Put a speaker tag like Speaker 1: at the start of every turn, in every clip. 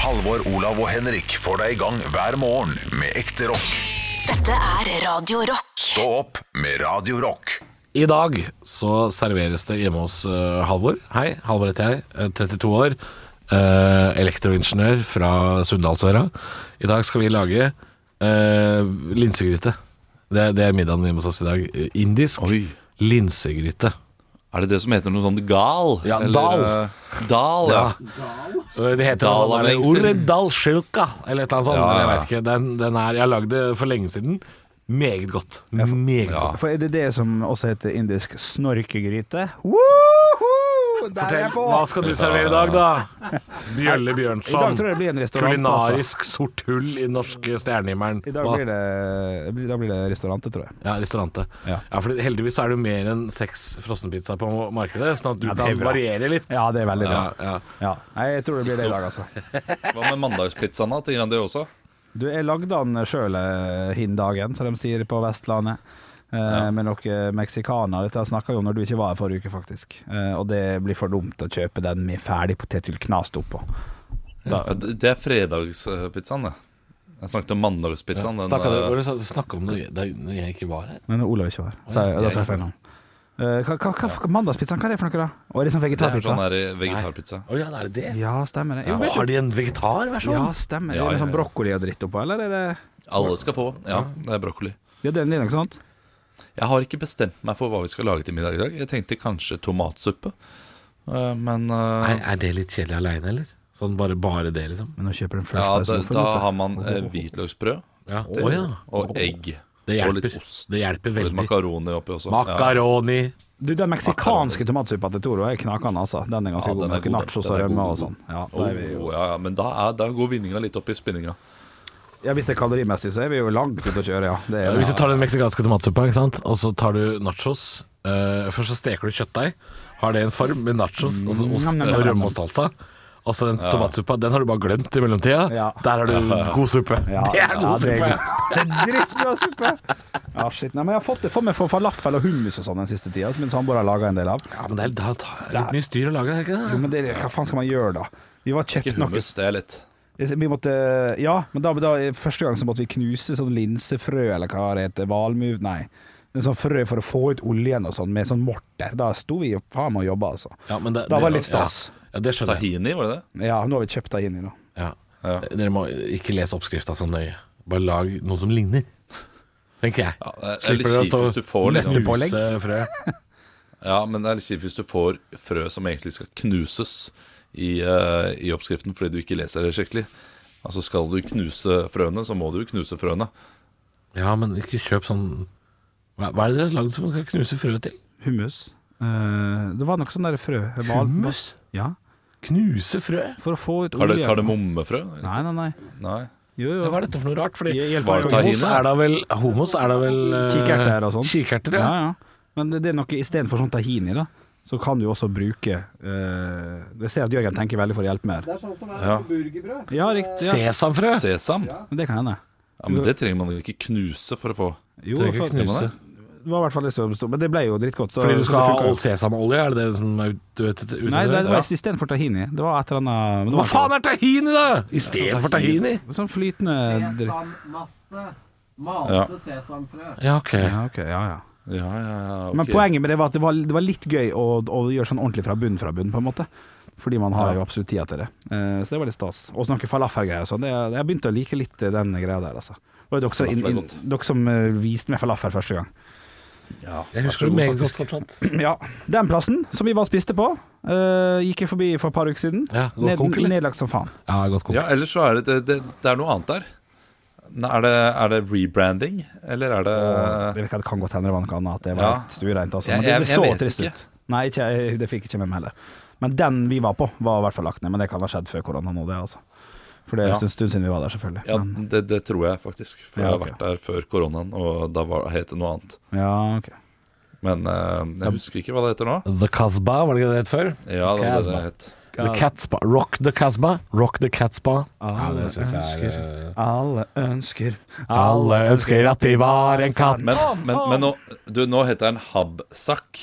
Speaker 1: Halvor, Olav og Henrik får deg i gang hver morgen med ekte rock.
Speaker 2: Dette er Radio Rock.
Speaker 1: Stå opp med Radio Rock.
Speaker 3: I dag så serveres det hjemme hos eh, Halvor. Hei, Halvor heter jeg. eh, 32 år. eh, elektroingeniør fra Sunndalsøra. I dag skal vi lage eh, linsegryte. Det, det er middagen hjemme hos oss i dag. Eh, Indisk
Speaker 4: Oi.
Speaker 3: linsegryte.
Speaker 4: Er det det som heter noe sånn gal?
Speaker 3: Ja, dal.
Speaker 4: eh, dal, ja.
Speaker 3: Ja. Eh, Det heter noe
Speaker 4: Dal
Speaker 3: sånn
Speaker 4: er
Speaker 3: der,
Speaker 4: lenge siden.
Speaker 3: Orredalsjuka, eller et eller annet sånt.
Speaker 4: Ja,
Speaker 3: men Jeg
Speaker 4: ja.
Speaker 3: vet ikke. Den, den er, jeg lagde det for lenge siden. Meget godt. Meget godt.
Speaker 5: For er det det som også heter indisk snorkegryte? Woohoo! Der er jeg på!
Speaker 3: Hva skal du servere i dag, da? Bjølle Bjørnson.
Speaker 5: I dag tror jeg det blir en restaurant, altså.
Speaker 3: Kulinarisk sort hull i den norske stjernehimmelen.
Speaker 5: I dag blir det, da blir det restaurant, tror jeg.
Speaker 3: Ja, restaurantet. Ja.
Speaker 5: Ja.
Speaker 3: for heldigvis er det jo mer enn seks frossenpizzaer på markedet, sånn at du
Speaker 5: Ja, det er
Speaker 3: kan
Speaker 5: bra.
Speaker 3: variere litt.
Speaker 5: Ja, det er veldig bra.
Speaker 3: Ja, ja.
Speaker 5: Ja. Nei, jeg tror det blir det i dag, altså.
Speaker 4: Hva med mandagspizzaen, da? Tenker han det også?
Speaker 5: Du, jeg lagde den sjøl hin dagen, som de sier på Vestlandet. Eh, Med noen meksikanere. Dette snakka vi om når du ikke var her forrige uke, faktisk. Eh, og det blir for dumt å kjøpe den med ferdig potetgull knast oppå. Da,
Speaker 4: Ja, det det er fredagspizzaen, det. Jeg snakket om mandagspizzaen. den,
Speaker 3: Snakka
Speaker 4: eh,
Speaker 3: dere- var det sånn- snakka om det da når jeg ikke var her?
Speaker 5: Nei, når Olav ikke var her. Så jeg, da tar jeg feil navn. Eh, hva, hva, hva, mandagspizzaen, hva er det for noe, da? Og er det sånn
Speaker 4: det er
Speaker 5: vegetarpizza?
Speaker 4: sånn her vegetarpizza.
Speaker 3: Å ja, er det det?
Speaker 5: Ja, stemmer det. Jo,
Speaker 3: Ja.
Speaker 5: vet
Speaker 3: Har
Speaker 5: du,
Speaker 3: de en vegetarversjon?
Speaker 5: ja, stemmer det.
Speaker 4: Ja, ja,
Speaker 5: Er det sånn
Speaker 4: ja.
Speaker 5: brokkoli og dritt oppå, eller er det
Speaker 4: Alle skal få. Ja, det er brokkoli.
Speaker 5: Ja, den er noe sånt.
Speaker 4: Jeg har ikke bestemt meg for hva vi skal lage til middag i dag. Jeg tenkte kanskje tomatsuppe. eh, Men eh,
Speaker 3: Nei, er det litt kjedelig aleine, eller? Sånn bare, bare det, liksom?
Speaker 5: Men nå kjøper den
Speaker 4: ja,
Speaker 5: først
Speaker 4: da,
Speaker 5: sofaen,
Speaker 4: da
Speaker 5: vet du.
Speaker 4: har man eh, hvitløksbrød
Speaker 3: Ja.
Speaker 4: til,
Speaker 3: Å ja.
Speaker 4: og egg.
Speaker 3: Det
Speaker 4: Og litt
Speaker 3: hjelper.
Speaker 4: ost.
Speaker 3: Det hjelper
Speaker 4: Og litt
Speaker 3: veldig.
Speaker 4: makaroni oppi også. Ja.
Speaker 3: Makaroni.
Speaker 5: Du, den meksikanske tomatsuppa til Toro er knakende, altså. Den er ganske
Speaker 4: Ja,
Speaker 5: god.
Speaker 4: den
Speaker 5: Med
Speaker 4: er god,
Speaker 5: noe nachos
Speaker 4: den. Den
Speaker 5: og
Speaker 4: er
Speaker 5: rømme
Speaker 4: god,
Speaker 5: og sånn. Ja, da
Speaker 4: Oh,
Speaker 5: er vi jo.
Speaker 4: ja, ja, men da, er, da går vinninga litt opp i spinninga.
Speaker 5: ja, hvis det er kalorimessig, så er vi jo langt ute å kjøre, ja. Det
Speaker 3: Ja,
Speaker 5: er,
Speaker 3: Hvis du tar den meksikanske tomatsuppa, ikke sant? og så tar du nachos eh, Først så steker du kjøttdeig, har det i en form med nachos, og så
Speaker 5: Nam,
Speaker 3: ost
Speaker 5: nam,
Speaker 3: og
Speaker 5: nam.
Speaker 3: rømme og salsa. Og så den tomatsuppa, den har du bare glemt i mellomtida.
Speaker 5: Ja.
Speaker 3: Der har du god suppe.
Speaker 5: Ja,
Speaker 3: det er
Speaker 5: ja,
Speaker 3: god
Speaker 5: det
Speaker 3: suppe!
Speaker 5: er god- Det er drittbra suppe! Ja, shit. Nei, men jeg har fått det for meg for falafel og hummus og sånn den siste tida, som min samboer har laga en del av.
Speaker 3: Ja, men det er, da tar jeg litt mye styr å lage, er det
Speaker 5: Jo,
Speaker 3: ikke det?
Speaker 5: men det, hva faen skal man gjøre da? Vi var
Speaker 4: Ikke
Speaker 5: kjøpt noe
Speaker 4: hummus, det er lett.
Speaker 5: Vi måtte Ja, men da, da første gang så måtte vi knuse sånn linsefrø, eller hva det heter. Valmu... Nei. En sånn frø for å få ut oljen og sånn, med sånn morter. Da sto vi jo faen meg og jobba, altså.
Speaker 3: Ja, men det
Speaker 5: Da var
Speaker 3: det-
Speaker 5: litt stas.
Speaker 3: Ja, ja det skjønner jeg.
Speaker 4: Tahini, var det det?
Speaker 5: Ja, nå har vi kjøpt det inn i nå.
Speaker 3: Ja.
Speaker 4: Ja.
Speaker 3: Dere må ikke lese oppskrifta så nøye. Bare lag noe som ligner, tenker jeg.
Speaker 4: Ja, det er litt kjipt hvis du får liksom
Speaker 5: Nøttepålegg.
Speaker 3: knuse frø.
Speaker 4: Ja, men det er litt kjipt hvis du får frø som egentlig skal knuses i, eh, i oppskriften fordi du ikke leser det skikkelig. Altså Skal du knuse frøene, så må du jo knuse frøene.
Speaker 3: Ja, men ikke kjøp sånn Hva hva er det dere har lagd som man kan knuse frø til?
Speaker 5: Hummus. Eh, det var noe sånn der frø. Val-
Speaker 3: Hummus?
Speaker 5: Ja.
Speaker 3: Knuse frø?
Speaker 5: For å få ut
Speaker 4: Har du
Speaker 5: oljen.
Speaker 4: kardemommefrø?
Speaker 5: Nei, nei, nei.
Speaker 4: Nei.
Speaker 5: Jo,
Speaker 3: Ja,
Speaker 5: jo.
Speaker 3: Hva er dette for noe rart? Fordi
Speaker 5: Jeg hjelper
Speaker 3: homos
Speaker 4: meg. Tahini?
Speaker 3: er da vel Homos er da vel eh,
Speaker 5: Kikerter og sånn.
Speaker 3: Kikerter, ja.
Speaker 5: Ja, ja. Men det det er noe istedenfor sånn tahini, da. Så kan du også bruke eh, Jeg ser at Jørgen tenker veldig for å hjelpe med her.
Speaker 4: Ja.
Speaker 5: Ja, riktig. Ja.
Speaker 3: Sesamfrø.
Speaker 4: Sesam? Ja,
Speaker 5: Men Det kan hende.
Speaker 4: men Det trenger man ikke knuse for å få.
Speaker 5: Jo,
Speaker 3: Trenger ikke
Speaker 5: for,
Speaker 3: knuse.
Speaker 5: Det var i hvert fall det som sto, men det ble jo drittgodt. Så
Speaker 3: Fordi du skal
Speaker 5: det
Speaker 3: ha
Speaker 5: funka jo.
Speaker 3: all sesamolje, er det det som er ut- du vet, ute etter?
Speaker 5: Nei, det var
Speaker 3: ja.
Speaker 5: istedenfor tahini. Det var et eller annet men det
Speaker 3: Hva
Speaker 5: var ikke-
Speaker 3: faen er tahini, da?! Istedenfor tahini?
Speaker 5: Sånn flytende dritt.
Speaker 6: Sesammasse. Malte sesamfrø.
Speaker 3: Ja, ok.
Speaker 5: Ja, ok, ja, ja.
Speaker 4: Ja, ja, ja, ok.
Speaker 5: Men poenget med det var at det var, det var litt gøy å, å gjøre sånn ordentlig fra bunn fra bunn, på en måte. Fordi man har jo absolutt tida til det. Eh, så det var litt stas. Og snakke falafelgreier og sånn. Det- Jeg begynte å like litt den greia der, altså. Det var jo dere som,
Speaker 4: Falafel
Speaker 5: inn-
Speaker 4: er
Speaker 5: inn-
Speaker 4: godt.
Speaker 5: dere som eh, viste meg falafel første gang.
Speaker 4: Ja,
Speaker 3: Jeg
Speaker 4: vær så
Speaker 3: husker det
Speaker 4: god,
Speaker 3: meget
Speaker 4: faktisk.
Speaker 3: godt fortsatt.
Speaker 5: Ja. Den plassen som vi bare spiste på, eh, gikk jeg forbi for et par uker siden.
Speaker 3: Ja, god konk, eller?
Speaker 5: nedlagt som faen.
Speaker 3: Ja, godt kokt.
Speaker 4: Ja, ellers så er det det, det, det er noe annet der. Nei, Er det, er det rebranding, eller er det
Speaker 5: jeg vet ikke, det kan godt hende det var noe annet. at Det var
Speaker 4: Eh, Ja.
Speaker 5: helt stuereint, altså.
Speaker 4: Jeg-
Speaker 5: Men det, det
Speaker 4: jeg-
Speaker 5: så
Speaker 4: jeg vet
Speaker 5: trist
Speaker 4: ikke.
Speaker 5: ut. Nei, ikke, jeg, det fikk ikke med meg heller. Men den vi var på, var i hvert fall lagt ned. Men det kan ha skjedd før korona nå, det, altså. For det er
Speaker 4: Ja.
Speaker 5: en stund siden vi var der, selvfølgelig.
Speaker 4: Ja,
Speaker 5: Men,
Speaker 4: det, det tror jeg faktisk. For
Speaker 5: Ja,
Speaker 4: jeg har
Speaker 5: ok.
Speaker 4: vært der før koronaen, og da var, het det noe annet.
Speaker 5: ja ok.
Speaker 4: Men eh, jeg husker ikke hva det heter nå.
Speaker 3: The Casbah, var det ikke det det het før?
Speaker 4: Ja, det var det det
Speaker 5: Casbah.
Speaker 4: het.
Speaker 3: The Catspa. Rock the Casbah. Rock the Catspa. Ja, det syns jeg er eh,
Speaker 5: Alle ønsker
Speaker 3: Alle ønsker at de var en katt.
Speaker 4: Men, men, men nå, du, nå heter den Habsak.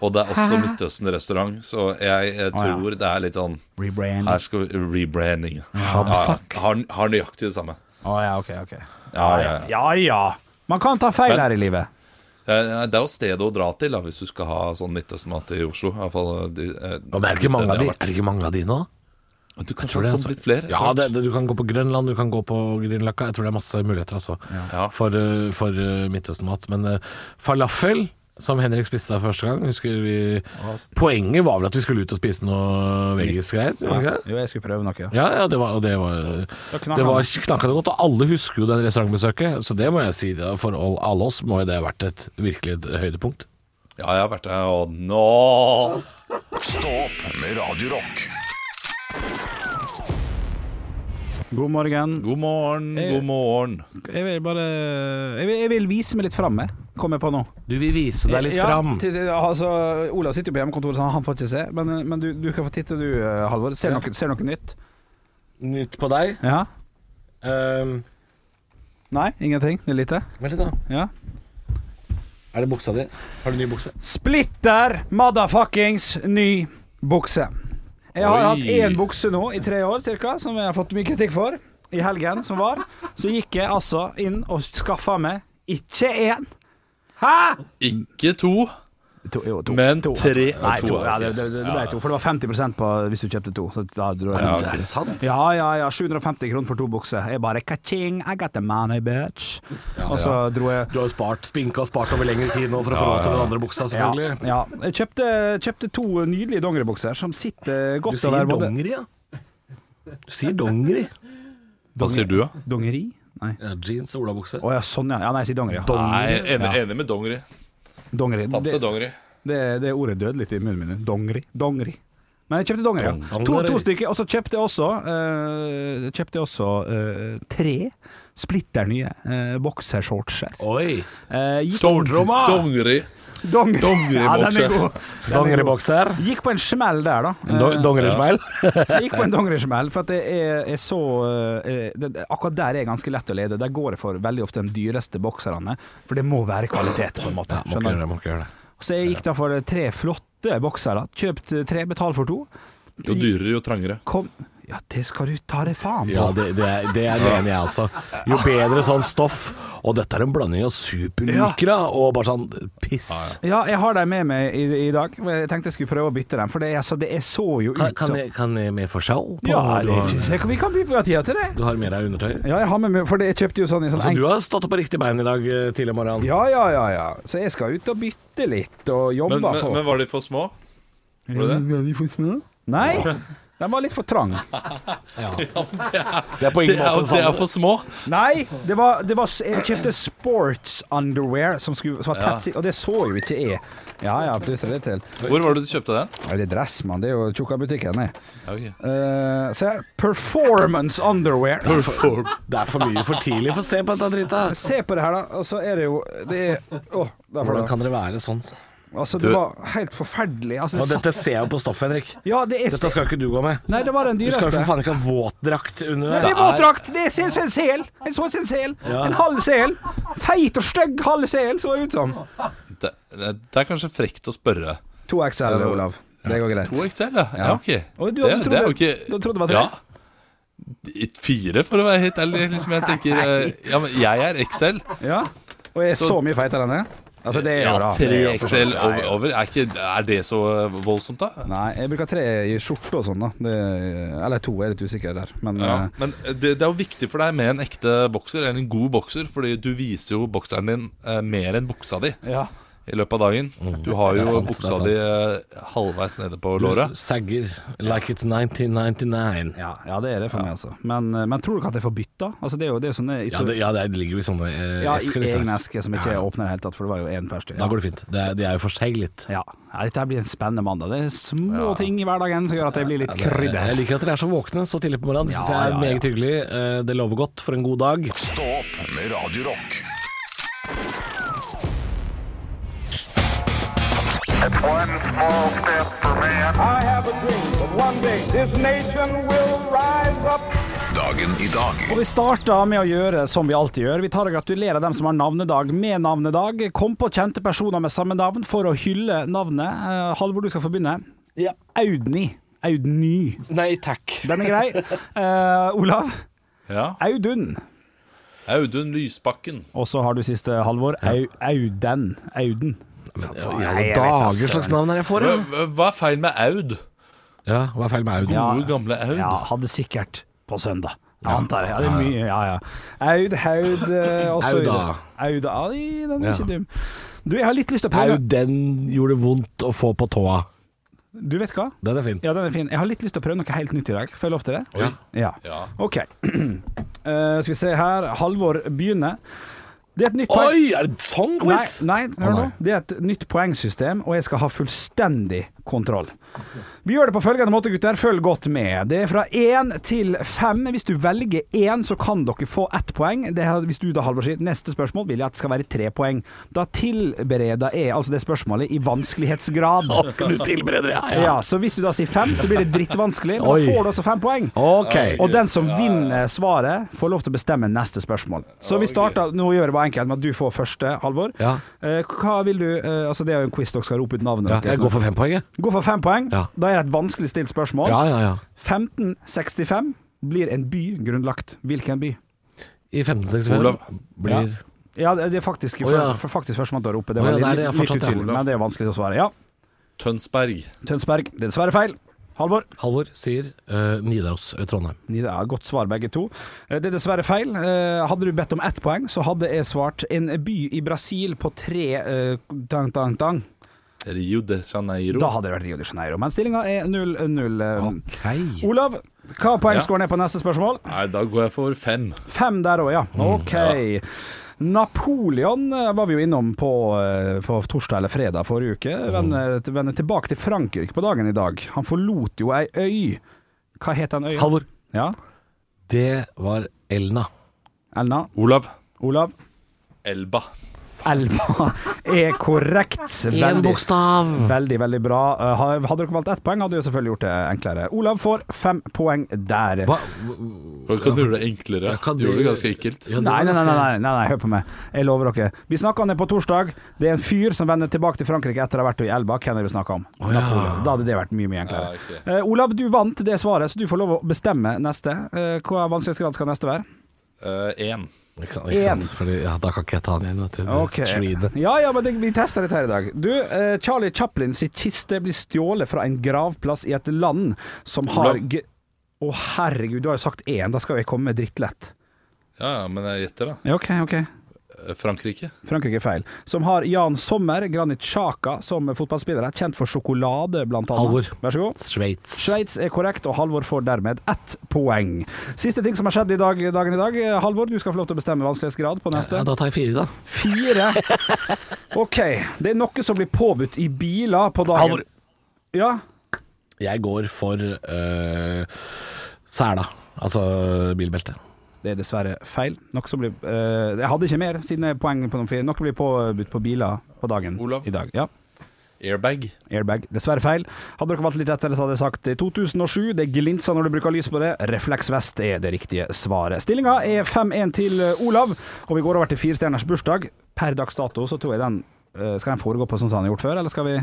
Speaker 4: Og det er også Midtøsten-restaurant, så jeg, jeg
Speaker 5: ja.
Speaker 4: tror det er litt sånn
Speaker 5: Rebrand.
Speaker 4: Her skal vi Rebranding.
Speaker 5: Hamsak.
Speaker 4: Ja, har, har nøyaktig det samme.
Speaker 5: Å ja, ok, ok.
Speaker 4: Ja, ja, ja.
Speaker 5: Ja ja. Man kan ta feil
Speaker 4: Men-
Speaker 5: her i livet.
Speaker 4: Eh, Det er jo stedet å dra til da, hvis du skal ha sånn Midtøsten-mat i Oslo. I hvert fall, de, eh,
Speaker 3: Og det er ikke
Speaker 4: stedene
Speaker 3: mange av
Speaker 4: jeg
Speaker 3: de,
Speaker 4: har vært.
Speaker 3: er det ikke mange av de nå?
Speaker 4: Du kan
Speaker 3: Tror
Speaker 4: få
Speaker 3: det,
Speaker 4: kommet
Speaker 3: altså.
Speaker 4: litt flere. etter
Speaker 3: Ja, det,
Speaker 4: hvert.
Speaker 3: det, du kan gå på Grønland, du kan gå på Grünerløkka. Jeg tror det er masse muligheter altså,
Speaker 4: Ja.
Speaker 3: for, eh, for eh, Midtøsten-mat. Men eh, falafel, som Henrik spiste der første gang husker vi, Poenget var vel at vi skulle ut og spise noe vegisk greier? var det ikke det?
Speaker 5: Jo, jeg skulle prøve noe.
Speaker 3: Ja, ja, det var, og det var,
Speaker 5: knakk
Speaker 3: det var
Speaker 5: han.
Speaker 3: knakkende godt. Og alle husker jo det restaurantbesøket, så det må jeg si. da, For all- alle oss må jo det ha vært et virkelig et høydepunkt.
Speaker 4: ja, jeg har vært der, og nå
Speaker 1: Stå opp med Radio Rock.
Speaker 5: God morgen.
Speaker 4: God morgen, god morgen.
Speaker 5: Jeg vil bare Jeg vil, jeg vil vise meg litt fram, jeg. Kommer jeg på nå.
Speaker 3: Du vil vise deg litt fram.
Speaker 5: til- til- altså, Olav sitter jo på hjemmekontoret, så han får ikke se. Men, men du, du kan få titte du, eh, Halvor. Ser du noe, ser du noe nytt?
Speaker 3: Nytt på deg.
Speaker 5: Ja?
Speaker 3: Ehm,
Speaker 5: Nei? Ingenting? Det er lite?
Speaker 3: Vent litt, da.
Speaker 5: Ja?
Speaker 3: Er det buksa di? Har du ny bukse?
Speaker 5: Splitter motherfuckings ny bukse. Jeg har
Speaker 4: Oi.
Speaker 5: hatt én bukse nå i tre år cirka, som jeg har fått mye kritikk for. I helgen som var, så gikk jeg altså inn og skaffa meg ikke én.
Speaker 4: Ikke to,
Speaker 5: To, jo, to.
Speaker 4: men
Speaker 5: To.
Speaker 4: tre.
Speaker 5: Nei,
Speaker 4: og
Speaker 5: to.
Speaker 4: er
Speaker 5: Ja,
Speaker 4: ok.
Speaker 5: det, det, det ble to, for det var 50 på hvis du kjøpte to. Så da dro jeg
Speaker 4: Ja,
Speaker 5: ja,
Speaker 4: ok.
Speaker 3: Er det sant?
Speaker 5: ja, ja, ja. 750 kroner for to bukser. Jeg bare ka-ching, I got the money, bitch. og så dro jeg
Speaker 3: Du har jo spart, spinka og spart over lengre tid nå for å få råd til den andre buksa,
Speaker 5: ja,
Speaker 3: selvfølgelig.
Speaker 5: ja. Jeg kjøpte, kjøpte to nydelige dongeribukser som sitter
Speaker 3: Du
Speaker 5: godt
Speaker 3: sier
Speaker 5: over både-
Speaker 3: dongeri, ja. Du sier dongeri.
Speaker 4: Hva sier du, da?
Speaker 5: Dongeri? Nei.
Speaker 3: Ja, jeans og olabukse.
Speaker 5: Å ja, sånn ja. ja. Nei, jeg sier dongeri. Ja.
Speaker 4: Nei,
Speaker 3: Dongeri.
Speaker 4: enig,
Speaker 5: Ja.
Speaker 4: enig med dongeri.
Speaker 5: Dongeri.
Speaker 4: Tapse
Speaker 5: Det,
Speaker 4: dongeri.
Speaker 5: det, det ordet døde litt i munnen min. Dongeri. Dongeri. Men jeg kjøpte dongeri, ja.
Speaker 3: Dong-
Speaker 5: To,
Speaker 3: dongeri.
Speaker 5: to stykker. Og så kjøpte jeg også eh, Kjøpte jeg også eh, tre splitter nye eh, boksershortser.
Speaker 3: Oi!
Speaker 5: Eh, gikk-
Speaker 3: Stortromma!
Speaker 4: Dongeri.
Speaker 5: Dongeri. Ja, den
Speaker 4: dongeribokser.
Speaker 5: er god. Den er god.
Speaker 3: Dongeribokser.
Speaker 5: Gikk på en smell der, da. Eh,
Speaker 3: Dongerismeil.
Speaker 5: Jeg gikk på en dongerismell, for at jeg, er- jeg så eh, det, det- Akkurat der er jeg ganske lett å lede. Der går jeg for veldig ofte de dyreste bokserne, for det må være kvalitet, på en måte.
Speaker 3: Må ikke gjøre det, må ikke gjøre det.
Speaker 5: Så jeg gikk da for tre flotte boksere. Kjøpt eh, tre, betal for to.
Speaker 4: Jo dyrere, jo trangere.
Speaker 5: Kom Ja, det skal du ta deg faen på!
Speaker 3: Ja, det, det, er, det er det enig jeg også. Jo bedre sånn stoff, og dette er en blanding av superlykra og bare sånn piss.
Speaker 5: Ja, jeg har dem med meg i, i dag. Jeg tenkte jeg skulle prøve å bytte dem, for det, er- altså, det er så jo ut
Speaker 3: Kan, kan,
Speaker 5: som
Speaker 3: jeg, kan jeg med forskjell på
Speaker 5: Ja,
Speaker 3: hva du
Speaker 5: det
Speaker 3: har-
Speaker 5: synes jeg vi kan by på tida til det.
Speaker 3: Du har med deg undertøy?
Speaker 5: Ja, jeg har med meg For det- jeg kjøpte jo sånn i sånn
Speaker 3: Så
Speaker 5: enk-
Speaker 3: Altså, du har stått opp på riktig bein i dag eh, tidlig om morgenen?
Speaker 5: Ja, ja, ja, ja. Så jeg skal ut og bytte litt, og jobbe
Speaker 4: Men, men,
Speaker 5: på.
Speaker 4: men var de for små?
Speaker 5: Mm,
Speaker 4: Var det det?
Speaker 5: Nei, den var litt for trang.
Speaker 3: Det er på
Speaker 4: Det
Speaker 3: ingen måte
Speaker 4: er,
Speaker 3: en
Speaker 4: det er
Speaker 3: sånn
Speaker 4: for små.
Speaker 5: Nei, det var, det var Jeg kjøpte sports underwear som, skulle, som var tett sitt, og det så jo ikke jeg. Ja ja, plusser det til.
Speaker 4: Hvor var det du kjøpte den?
Speaker 5: Nei, det er dress, mann. Det er jo tjukkabutikken, jeg.
Speaker 4: Ja, ok.
Speaker 5: Uh, se her. Performance underwear.
Speaker 3: Det er for mye for tidlig for å se på dette drita.
Speaker 5: Se på det her, da. Og så er det jo Det er Å, der får
Speaker 3: Hvordan
Speaker 5: du det.
Speaker 3: kan dere være sånn?
Speaker 5: Altså, det var helt forferdelig. Altså,
Speaker 3: Og
Speaker 5: det
Speaker 3: dette ser jeg jo på stoff, Henrik.
Speaker 5: satt Ja, det er
Speaker 3: Dette skal ikke du gå med.
Speaker 5: Nei, det var den
Speaker 3: Du skal jo
Speaker 5: dyreste.
Speaker 3: for faen ikke ha våtdrakt under
Speaker 5: Det
Speaker 3: deg.
Speaker 5: er våtdrakt! Det er ser ut som en sel! Jeg så ut som en sel. En halv sel. Feit og stygg halv sel så jeg ut som.
Speaker 4: Det, det det er kanskje frekt å spørre.
Speaker 5: 2XL, Olav. Det går greit.
Speaker 4: 2XL, ja. ja ok.
Speaker 5: Og du hadde
Speaker 4: det,
Speaker 5: trodd
Speaker 4: det er jo
Speaker 5: det-
Speaker 4: ikke
Speaker 5: du hadde trodd det var tre?
Speaker 4: Ja. I Fire, for å være helt ærlig. Liksom, jeg tenker eh, Ja, men jeg er XL.
Speaker 5: Ja. Og jeg er
Speaker 4: Så-
Speaker 5: så mye feitere enn det. Altså, det er
Speaker 4: Ja,
Speaker 5: jo da.
Speaker 4: tre
Speaker 5: det er jo for-
Speaker 4: XL over. over. Er, ikke, er det så voldsomt, da?
Speaker 5: Nei, jeg bruker tre i skjorte og sånn, da. Det, eller to, jeg er litt usikker der. Men
Speaker 4: Ja,
Speaker 5: eh,
Speaker 4: men det, det er jo viktig for deg med en ekte bokser, eller en god bokser, fordi du viser jo bokseren din eh, mer enn buksa di
Speaker 5: ja.
Speaker 4: i løpet av dagen. Du har
Speaker 3: det er
Speaker 4: jo
Speaker 3: sant, det er
Speaker 4: buksa
Speaker 3: sant.
Speaker 4: di eh, halvveis nede på låret.
Speaker 3: Sagger like it's 1999.
Speaker 5: Ja, ja, det er det for meg, altså. Men, eh, men tror du ikke at jeg får bytta? Altså, det er jo, det er jo sånne
Speaker 3: Ja, det, ja, det ligger jo i sånne eh,
Speaker 5: ja,
Speaker 3: esker.
Speaker 5: i
Speaker 3: disse her.
Speaker 5: egen eske som ikke jeg åpner i det hele tatt, for det var jo én per stykke.
Speaker 3: Da går det fint. Det er, de er jo forseglet.
Speaker 5: Ja. ja, dette her blir en spennende mandag. Det er små ting i hverdagen som gjør at jeg blir litt
Speaker 3: Jeg
Speaker 5: krydder.
Speaker 3: liker at dere er så våkne så tidlig på morgenen. Det syns
Speaker 5: Ja,
Speaker 3: jeg er
Speaker 5: ja, ja.
Speaker 3: meget hyggelig. Eh, Det lover godt for en god dag.
Speaker 1: Stå opp med Radio Rock.
Speaker 7: One small step for man.
Speaker 8: I have a dream that one day this nation will rise
Speaker 1: Dagen i dag.
Speaker 5: Og vi starter med å gjøre som vi alltid gjør. Vi tar og gratulerer dem som har navnedag med navnedag. Kom på kjente personer med samme navn for å hylle navnet. Eh, Halvor, du skal få begynne.
Speaker 7: Ja.
Speaker 5: Audny. Audny.
Speaker 7: Nei takk.
Speaker 5: Den er grei. Eh, Olav.
Speaker 4: Ja.
Speaker 5: Audun.
Speaker 4: Audun Lysbakken.
Speaker 5: Og så har du siste Halvor. Au, Auden. Auden.
Speaker 3: I alle dager,
Speaker 5: altså.
Speaker 3: slags navn er det jeg får?
Speaker 4: Hva,
Speaker 3: Ja.
Speaker 4: hva- hva er feil med Aud?
Speaker 3: ja, hva er feil med Audun?
Speaker 5: Ja.
Speaker 4: Gode, gamle Aud.
Speaker 5: Ja, hadde sikkert på søndag. Jeg antar det. Ja, det er mye, ja, ja. Aud, Haud eh, også
Speaker 3: Auda.
Speaker 5: Auda. Ai, den er
Speaker 3: Ja.
Speaker 5: ikke dum. Du, jeg har litt lyst til å prøve
Speaker 3: Auden gjorde det vondt å få på tåa.
Speaker 5: Du vet hva?
Speaker 3: Den er fin.
Speaker 5: Ja, den er fin. Jeg har litt lyst til å prøve noe helt nytt i dag. Får jeg lov til det?
Speaker 3: Ja.
Speaker 5: Ja.
Speaker 4: Ja.
Speaker 5: OK. Eh, skal vi se her. Halvor begynner. Det er et nytt poeng.
Speaker 3: Oi, er det sånn
Speaker 5: Nei,
Speaker 3: quiz?
Speaker 5: nei, hør
Speaker 3: Å,
Speaker 5: nå.
Speaker 3: nei.
Speaker 5: Det er et nytt poengsystem, og jeg skal ha fullstendig kontroll. Vi gjør det på følgende måte, gutter. Følg godt med. Det er fra én til fem. Hvis du velger én, så kan dere få ett poeng. Det er, hvis du da, Halvor, sier neste spørsmål, vil jeg at det skal være tre poeng. Da tilbereder jeg altså det spørsmålet i vanskelighetsgrad.
Speaker 3: Du tilbereder ja, ja.
Speaker 5: Ja, så hvis du da sier fem, så blir det drittvanskelig, men
Speaker 3: Oi.
Speaker 5: da får du også fem poeng.
Speaker 3: Ok.
Speaker 5: Og den som vinner svaret, får lov til å bestemme neste spørsmål. Så vi starter Nå gjør jeg bare enkelt med at du får første, Halvor.
Speaker 3: Ja.
Speaker 5: Eh, Hva vil du eh, Altså, det er jo en quiz dere skal rope ut navnet
Speaker 3: Ja, jeg
Speaker 5: deres.
Speaker 3: går for fem poeng, jeg.
Speaker 5: Gå for fem poeng.
Speaker 3: Ja.
Speaker 5: Da er det et vanskelig stilt spørsmål.
Speaker 3: Ja, ja, ja.
Speaker 5: 1565 blir en by grunnlagt. Hvilken by?
Speaker 3: I 1565
Speaker 4: Olav.
Speaker 3: blir
Speaker 5: Ja, det det er faktisk,
Speaker 3: Å, ja.
Speaker 5: for, for faktisk førstemann til å rope. Det
Speaker 3: Å,
Speaker 5: var
Speaker 3: ja, det er
Speaker 5: litt,
Speaker 3: det, ja,
Speaker 5: litt,
Speaker 3: fortsatt, ja.
Speaker 5: utydelig, men det er vanskelig å svare. Ja.
Speaker 4: Tønsberg.
Speaker 5: Tønsberg. Det er dessverre feil. Halvor.
Speaker 3: Halvor sier eh, Nidaros eller Trondheim.
Speaker 5: Ni- Ja, godt svar, begge to. Eh, Det er dessverre feil. Eh, Hadde du bedt om ett poeng, så hadde jeg svart en by i Brasil på tre eh, dang, dang, dang.
Speaker 4: Rio de Janeiro.
Speaker 5: Da hadde det vært Rio de Janeiro. Men stillinga er 0-0. eh.
Speaker 3: Ok.
Speaker 5: Olav, hva
Speaker 4: Ja.
Speaker 5: poengscoren er på neste spørsmål?
Speaker 4: Nei, da går jeg for fem.
Speaker 5: Fem der òg, ja. OK. Napoleon eh, var vi jo innom på, eh, på torsdag eller fredag forrige uke. Vender vender tilbake til Frankrike på dagen i dag. Han forlot jo ei øy. Hva het den øya?
Speaker 3: Halvor,
Speaker 5: Ja,
Speaker 3: det var Elna.
Speaker 5: Elna?
Speaker 4: Olav.
Speaker 5: Olav?
Speaker 4: Elba.
Speaker 5: Elva er korrekt.
Speaker 3: Én
Speaker 5: Veldig,
Speaker 3: bokstav!
Speaker 5: veldig, veldig bra. Eh, ha- Hadde dere valgt ett poeng, hadde dere selvfølgelig gjort det enklere. Olav får fem poeng der.
Speaker 3: Hva?
Speaker 4: Hvordan kan du gjøre det enklere?
Speaker 3: Ja, kan
Speaker 4: du gjør
Speaker 3: du-
Speaker 4: det ganske enkelt.
Speaker 3: Ja, det
Speaker 5: Nei
Speaker 3: var
Speaker 5: nei nei,
Speaker 3: ganske-
Speaker 5: nei, nei, nei, nei, hør på meg. Jeg lover dere. Vi snakka om det på torsdag. Det er en fyr som vender tilbake til Frankrike etter å ha vært i elva. Hvem er det vi snakker om?
Speaker 3: Å, ja.
Speaker 5: Napoleon. Da hadde det vært mye, mye
Speaker 4: Ja,
Speaker 5: enklere.
Speaker 4: ok.
Speaker 5: Eh, Olav, du vant det svaret, så du får lov å bestemme neste. Eh, Hva vanskelighetsgrad skal neste være?
Speaker 4: Én.
Speaker 3: Ikke sant, ikke sant? Fordi, ja, da kan ikke jeg ta den igjen. Vet du.
Speaker 5: Ok.
Speaker 3: Treat.
Speaker 5: Ja, ja, men det, vi tester dette her i dag. Du, eh, Charlie Chaplin sitt kiste blir stjålet fra en gravplass i et land som har
Speaker 4: Olav.
Speaker 5: ge- Å, herregud, du har jo sagt én. Da skal jeg komme med drittlett.
Speaker 4: Ja, ja, men jeg gjetter, da.
Speaker 5: Ja, OK, OK.
Speaker 4: Eh, Frankrike.
Speaker 5: Frankrike er feil. Som har Jan Sommer, Granit Xhaka, som fotballspiller. er Kjent for sjokolade, blant annet.
Speaker 3: Halvor.
Speaker 5: Vær så god.
Speaker 3: Sveits.
Speaker 5: Sveits er korrekt, og Halvor får dermed ett poeng. Siste ting som har skjedd i dag, dagen i dag. Halvor, du skal få lov til å bestemme vanskelighetsgrad på neste.
Speaker 3: Ja, da tar jeg fire, da.
Speaker 5: Fire. OK. Det er noe som blir påbudt i biler på dagen.
Speaker 3: Halvor.
Speaker 5: Ja.
Speaker 3: Jeg går for eh, sela, altså bilbelte.
Speaker 5: Det er dessverre feil. Noe som blir eh, Jeg hadde ikke mer, siden jeg er poeng på noen fire. Noe blir påbudt på biler på dagen
Speaker 4: Olav.
Speaker 5: i dag. Ja.
Speaker 4: Airbag.
Speaker 5: Airbag. Dessverre feil. Hadde dere valgt litt etter, så hadde jeg sagt eh, 2007. Det glinser når du bruker lys på det. Refleksvest er det riktige svaret. Stillinga er 5-1 til eh, Olav, og vi går over til firestjerners bursdag. Per dags dato så tror jeg den eh, Skal den foregå på sånn som den har gjort før, eller skal vi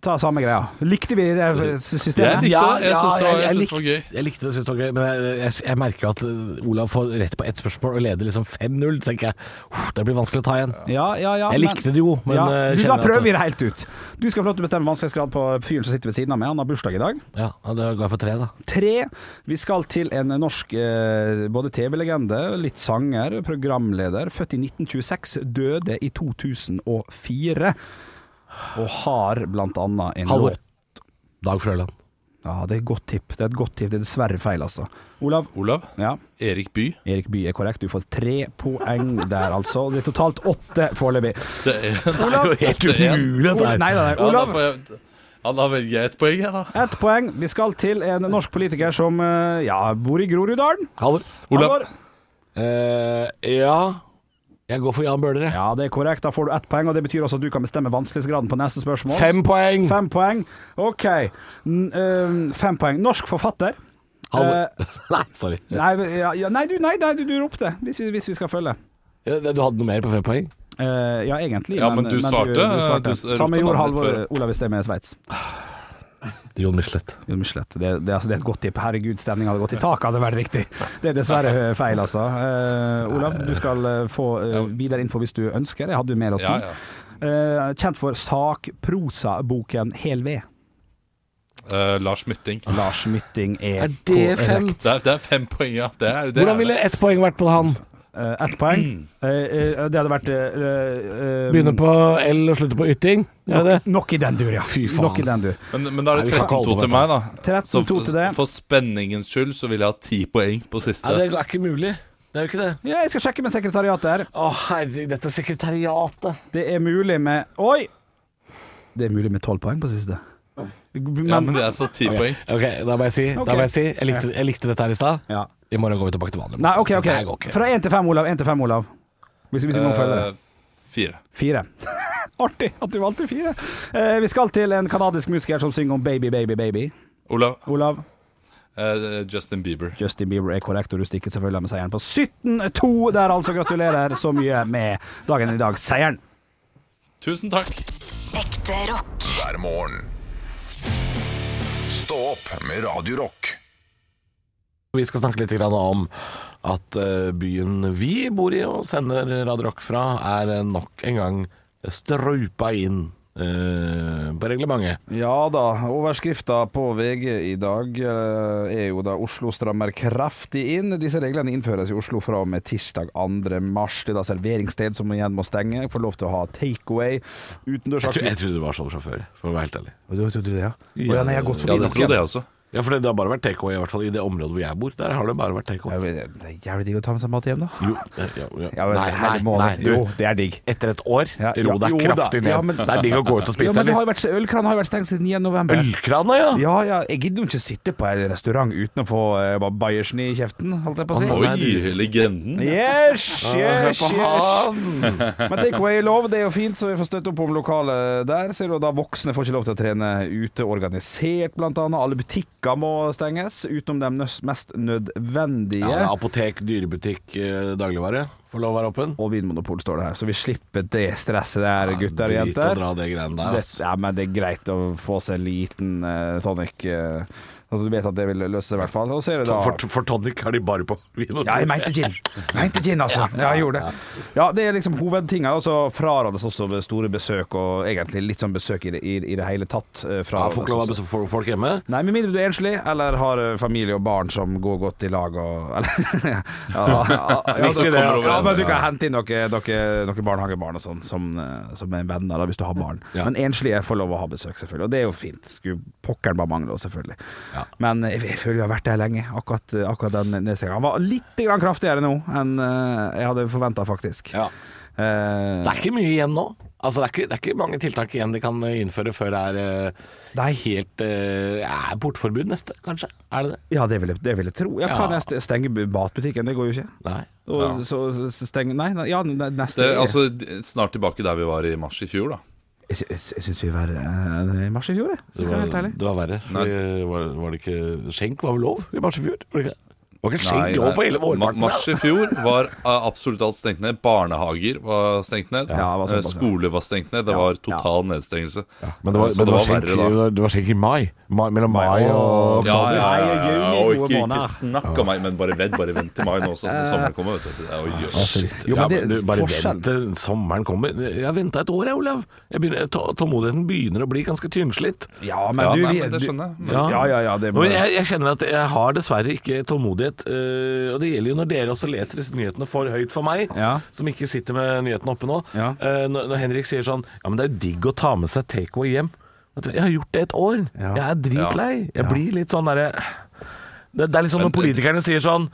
Speaker 5: ta samme greia? Likte vi det eh,
Speaker 4: Jeg
Speaker 5: systemet?
Speaker 4: likte det. Jeg syns det var, jeg synes det var gøy.
Speaker 3: Jeg likte det, synes det var gøy, men jeg, jeg, jeg merker jo at eh, Olav får rett på ett spørsmål og leder liksom 5-0. tenker jeg, Uff, Det blir vanskelig å ta igjen.
Speaker 5: Ja, ja, ja,
Speaker 3: Jeg
Speaker 5: men-
Speaker 3: likte det jo, men
Speaker 5: ja,
Speaker 3: eh,
Speaker 5: du,
Speaker 3: kjenner
Speaker 5: Da
Speaker 3: at-
Speaker 5: prøver vi det helt ut. Du skal få lov til å bestemme vanskelighetsgrad på fyren som sitter ved siden av meg. Han har bursdag i dag.
Speaker 3: Ja, ja, Da går jeg for tre, da.
Speaker 5: Tre. Vi skal til en norsk eh, både TV-legende, litt sanger, programleder. Født i 1926, døde i 2004. Og har blant annet en
Speaker 3: Halvor.
Speaker 5: låt
Speaker 3: Dag Frøland.
Speaker 5: Ja, det er et godt tipp. Det er et godt tipp. Det er dessverre feil, altså. Olav.
Speaker 4: Olav.
Speaker 5: Ja.
Speaker 4: Erik By.
Speaker 5: Erik Bye er korrekt. Du får tre poeng der, altså. Det er totalt åtte foreløpig.
Speaker 4: Det er, det er jo helt umulig.
Speaker 5: Ol- Nei, nei, nei.
Speaker 4: Ja, da
Speaker 5: Olav.
Speaker 4: får jeg ja, da velger jeg ett poeng, jeg, da.
Speaker 5: Ett poeng. Vi skal til en norsk politiker som eh, ja, bor i Groruddalen.
Speaker 3: Halvor.
Speaker 4: Olav.
Speaker 5: Halvor.
Speaker 3: Eh, ja Jeg går for Jan Bøhler, jeg.
Speaker 5: Ja, det er korrekt. Da får du ett poeng, og det betyr også at du kan bestemme vanskelighetsgraden på neste spørsmål.
Speaker 3: Fem poeng!
Speaker 5: Fem poeng. OK. N eh, fem poeng. Norsk forfatter.
Speaker 3: Halvor Nei, sorry.
Speaker 9: Nei, ja, ja, nei, du, nei, nei, du, du ropte, hvis vi, hvis vi skal følge.
Speaker 3: Ja, Du hadde noe mer på fem poeng?
Speaker 9: Eh, ja, egentlig.
Speaker 4: Ja, men du svarte,
Speaker 9: Du, svarte.
Speaker 4: du s-
Speaker 9: Samme
Speaker 4: ropte
Speaker 9: gjorde
Speaker 4: navnet
Speaker 9: Halvor
Speaker 4: ditt
Speaker 9: Olav i sted med Sveits.
Speaker 3: Jon Michelet.
Speaker 9: Jo, men slett. Det, det, altså, det er et godt tipp. Herregud, stemninga hadde gått i taket, hadde vært riktig. Det er dessverre eh, feil, altså. Eh, Olav, du skal eh, få eh, videre info hvis du ønsker. Jeg hadde jo mer å si.
Speaker 4: Ja, ja.
Speaker 9: Eh, kjent for sakprosaboken Hel ved.
Speaker 4: Eh, Lars Mytting.
Speaker 9: Lars Mytting er,
Speaker 3: Er det fem?
Speaker 9: korrekt.
Speaker 4: Det er, det er fem poeng, ja. Det er, det
Speaker 3: Hvordan
Speaker 4: er,
Speaker 3: ville ett poeng vært på han?
Speaker 9: Eh, Ett poeng. Eh, eh, det hadde vært eh, eh,
Speaker 3: Begynne på L og slutte på ytting? Er det?
Speaker 9: nok, nok i den dur, ja.
Speaker 3: Fy faen.
Speaker 9: Nok i den dur.
Speaker 4: Men, men da er
Speaker 3: Nei,
Speaker 4: det
Speaker 3: vi kan ikke
Speaker 4: 13-2
Speaker 3: holde
Speaker 4: til
Speaker 3: på
Speaker 4: meg, da.
Speaker 9: 13-2 til det.
Speaker 4: For spenningens skyld så vil jeg ha 10 poeng på siste.
Speaker 3: Nei, det er ikke mulig. Det er jo ikke det.
Speaker 9: Ja, jeg skal sjekke med sekretariatet her.
Speaker 3: Å herregud, dette sekretariatet.
Speaker 9: Det er mulig med Oi! Det er mulig med tolv poeng på siste. Men,
Speaker 4: ja, men det er altså 10 poeng.
Speaker 3: Ok, da må jeg si,
Speaker 9: Ok.
Speaker 3: da må jeg, si jeg, likte, jeg likte dette her i stad.
Speaker 9: ja.
Speaker 3: I morgen går vi tilbake til vanlig.
Speaker 9: Nei, OK. ok
Speaker 3: Det her går ikke.
Speaker 9: Fra én til fem, Olav. Én til fem, Olav. Hvis, hvis vi må følge det.
Speaker 4: Eh, Fire.
Speaker 9: Fire. Artig at du valgte fire. Eh, vi skal til en kanadisk musiker som synger om baby, baby, baby.
Speaker 4: Olav.
Speaker 9: Olav,
Speaker 4: eh, Justin Bieber.
Speaker 9: Justin Bieber er korrekt, og du stikker selvfølgelig med seieren på 17-2 der, altså. Gratulerer så mye med dagen i dag. Seieren.
Speaker 4: Tusen takk.
Speaker 2: Ekte rock.
Speaker 1: hver morgen. Stå opp med Radio Rock.
Speaker 3: Vi skal snakke litt grann om at eh, byen vi bor i og sender Radio Rock fra, er eh, nok en gang strupa inn eh, på reglementet.
Speaker 5: Ja da, overskrifta på VG i dag eh, er jo da Oslo strammer kraftig inn. Disse reglene innføres i Oslo fra og med tirsdag 2. mars. Det er da serveringssted som igjen må stenge, får lov til å ha takeaway.
Speaker 3: Jeg, tror, jeg
Speaker 5: Utendørsaktivitet
Speaker 3: trodde det var sånn fra før, for å være helt ærlig.
Speaker 5: Du trodde det, ja? Å ja, nei, jeg har
Speaker 4: Ja,
Speaker 5: gått forbi
Speaker 4: det
Speaker 5: nok
Speaker 4: trodde
Speaker 5: igjen.
Speaker 4: jeg også.
Speaker 3: Ja, for det har bare vært takeaway, i hvert fall i det området hvor jeg bor. Der har det bare vært
Speaker 5: Ja,
Speaker 3: takeaway.
Speaker 5: men eh, Det er jævlig digg å ta med seg mat hjem, da.
Speaker 3: Jo, eh, ja, ja.
Speaker 5: Ja, men-
Speaker 3: Nei, nei,
Speaker 5: det må
Speaker 3: nei,
Speaker 5: det.
Speaker 3: du.
Speaker 5: Jo, det er digg.
Speaker 3: Etter et år,
Speaker 5: Ja,
Speaker 3: ro
Speaker 5: ja,
Speaker 3: deg
Speaker 5: jo da.
Speaker 3: kraftig ned.
Speaker 5: Ja, men-
Speaker 3: Det er digg å gå ut og
Speaker 5: Ja,
Speaker 3: spise,
Speaker 5: men det har
Speaker 3: eller?
Speaker 5: jo vært, Ølkranen har jo vært stengt siden 9. november.
Speaker 3: Ølkrana, ja!
Speaker 5: Ja, ja, jeg gidder jo ikke sitte på en restaurant uten å få uh, Bayersen i kjeften, holdt jeg på å si.
Speaker 3: Å, nei.
Speaker 4: Oi, legenden.
Speaker 5: Yes,
Speaker 3: Hør
Speaker 5: yes,
Speaker 3: på
Speaker 5: yes.
Speaker 3: han!
Speaker 5: Men takeaway er lov, det er jo fint, så vi får støtte opp om lokalet der. Ser du da voksne får ikke lov til å trene ute organisert, blant annet. Alle butikker må stenges, utenom de nøs- mest nødvendige.
Speaker 3: Ja, det er apotek, dyrebutikk, eh, dagligvare får lov å være åpen.
Speaker 5: Og Vinmonopol står det her, så vi slipper det stresset der, gutter og
Speaker 3: Ja, Drit å
Speaker 5: jenter.
Speaker 3: dra det greiene der. altså.
Speaker 5: Det,
Speaker 3: ass.
Speaker 5: ja, men det er greit å få seg en liten eh, tonic. eh, altså, du vet at det vil løse seg, i hvert fall. Og så er det da
Speaker 3: For, for tonic har de bare på vin og
Speaker 5: Ja, jeg mente gin. Jeg Mente gin, altså. Ja, jeg gjorde det. Ja, det er liksom hovedtinga. Og så frarådes også ved store besøk, og egentlig litt sånn besøk i det, i, i det hele tatt.
Speaker 3: Ja,
Speaker 5: eh, Fra,
Speaker 3: Får ikke lov å besøke folk hjemme.
Speaker 5: Nei, med mindre du er enslig, eller har eh, familie og barn som går godt i lag og eller, ja, ja, ja, ja,
Speaker 3: Viktig det, altså.
Speaker 5: ja, men du kan hente inn noen noe, noe barnehagebarn og sånn som, eh, som er venner, da, hvis du har barn.
Speaker 3: Ja.
Speaker 5: Men enslige får lov å ha besøk, selvfølgelig. Og det er jo fint. Skulle pokkeren bare mangle, også, selvfølgelig.
Speaker 3: Ja.
Speaker 5: Men eh, jeg, jeg føler jeg har vært der lenge, akkurat, eh, akkurat den nedstengingen. Han var litt grann kraftigere nå enn eh, jeg hadde forventa, faktisk.
Speaker 3: Ja.
Speaker 5: Eh,
Speaker 3: Det er ikke mye igjen nå. Altså, det, er ikke, det er ikke mange tiltak igjen de kan eh, innføre før det er eh,
Speaker 5: Nei.
Speaker 3: helt eh, ja, Portforbud neste, kanskje? Er det det?
Speaker 5: ja, det vil jeg, det vil jeg tro. Ja,
Speaker 3: Ja.
Speaker 5: kan jeg st- stenge matbutikken? Det går jo ikke.
Speaker 3: Nei.
Speaker 5: Og så så stenge Nei, nei, ja, ne- neste
Speaker 4: Det,
Speaker 5: er-
Speaker 4: altså, d- snart tilbake der vi var i mars i fjor, da.
Speaker 5: Jeg, sy- jeg, sy- jeg syns vi var eh, i mars i fjor, jeg. Synes
Speaker 3: Det
Speaker 5: det var helt
Speaker 3: var,
Speaker 5: ærlig.
Speaker 3: det var verre.
Speaker 4: Nei.
Speaker 3: Fordi, var, var det ikke Skjenk var vel lov i Marsefjord? Var det ikke det? Var ikke
Speaker 4: Nei,
Speaker 3: skjenk lov på hele
Speaker 4: nei. Ma-
Speaker 3: vårparten?
Speaker 4: Mars i fjor var eh, absolutt alt stengt ned. Barnehager var stengt ned.
Speaker 5: Ja, det var
Speaker 4: Eh,
Speaker 5: såpass, ja.
Speaker 4: Skole var stengt ned. Det var total nedstengelse.
Speaker 3: Men det var,
Speaker 4: Så det var verre da.
Speaker 3: skjenk i mai. Mellom mai
Speaker 5: og-
Speaker 4: Ja, ja, ja, ja, ja,
Speaker 9: Nei, og juni,
Speaker 4: og
Speaker 9: gode
Speaker 4: ikke,
Speaker 9: måneder.
Speaker 4: ikke snakk om meg, men bare vent, bare vent til mai nå så når sommeren kommer. Vet du. Oi, oi, shit.
Speaker 5: Jo,
Speaker 3: ja,
Speaker 5: men det
Speaker 3: men du, bare
Speaker 5: forskjell-
Speaker 3: vent til sommeren kommer. Jeg har venta et år, jeg, Olav. Jeg begynner, tå- tålmodigheten begynner å bli ganske tynnslitt.
Speaker 5: Ja, men
Speaker 4: Ja,
Speaker 5: du,
Speaker 4: nei,
Speaker 5: vi,
Speaker 4: men det
Speaker 5: du-
Speaker 4: skjønner jeg. Men,
Speaker 5: Ja, ja, ja, det må
Speaker 3: Men jeg, jeg kjenner at jeg har dessverre ikke tålmodighet. eh, og det gjelder jo når dere også leser disse nyhetene for høyt for meg,
Speaker 5: Ja.
Speaker 3: som ikke sitter med nyhetene oppe nå.
Speaker 5: Ja.
Speaker 3: Eh, når, når Henrik sier sånn Ja, men det er jo digg å ta med seg takeaway hjem. Vet du, Jeg har gjort det et år.
Speaker 5: Ja.
Speaker 3: Jeg er dritlei. Jeg blir litt sånn derre det, det er litt sånn når politikerne sier sånn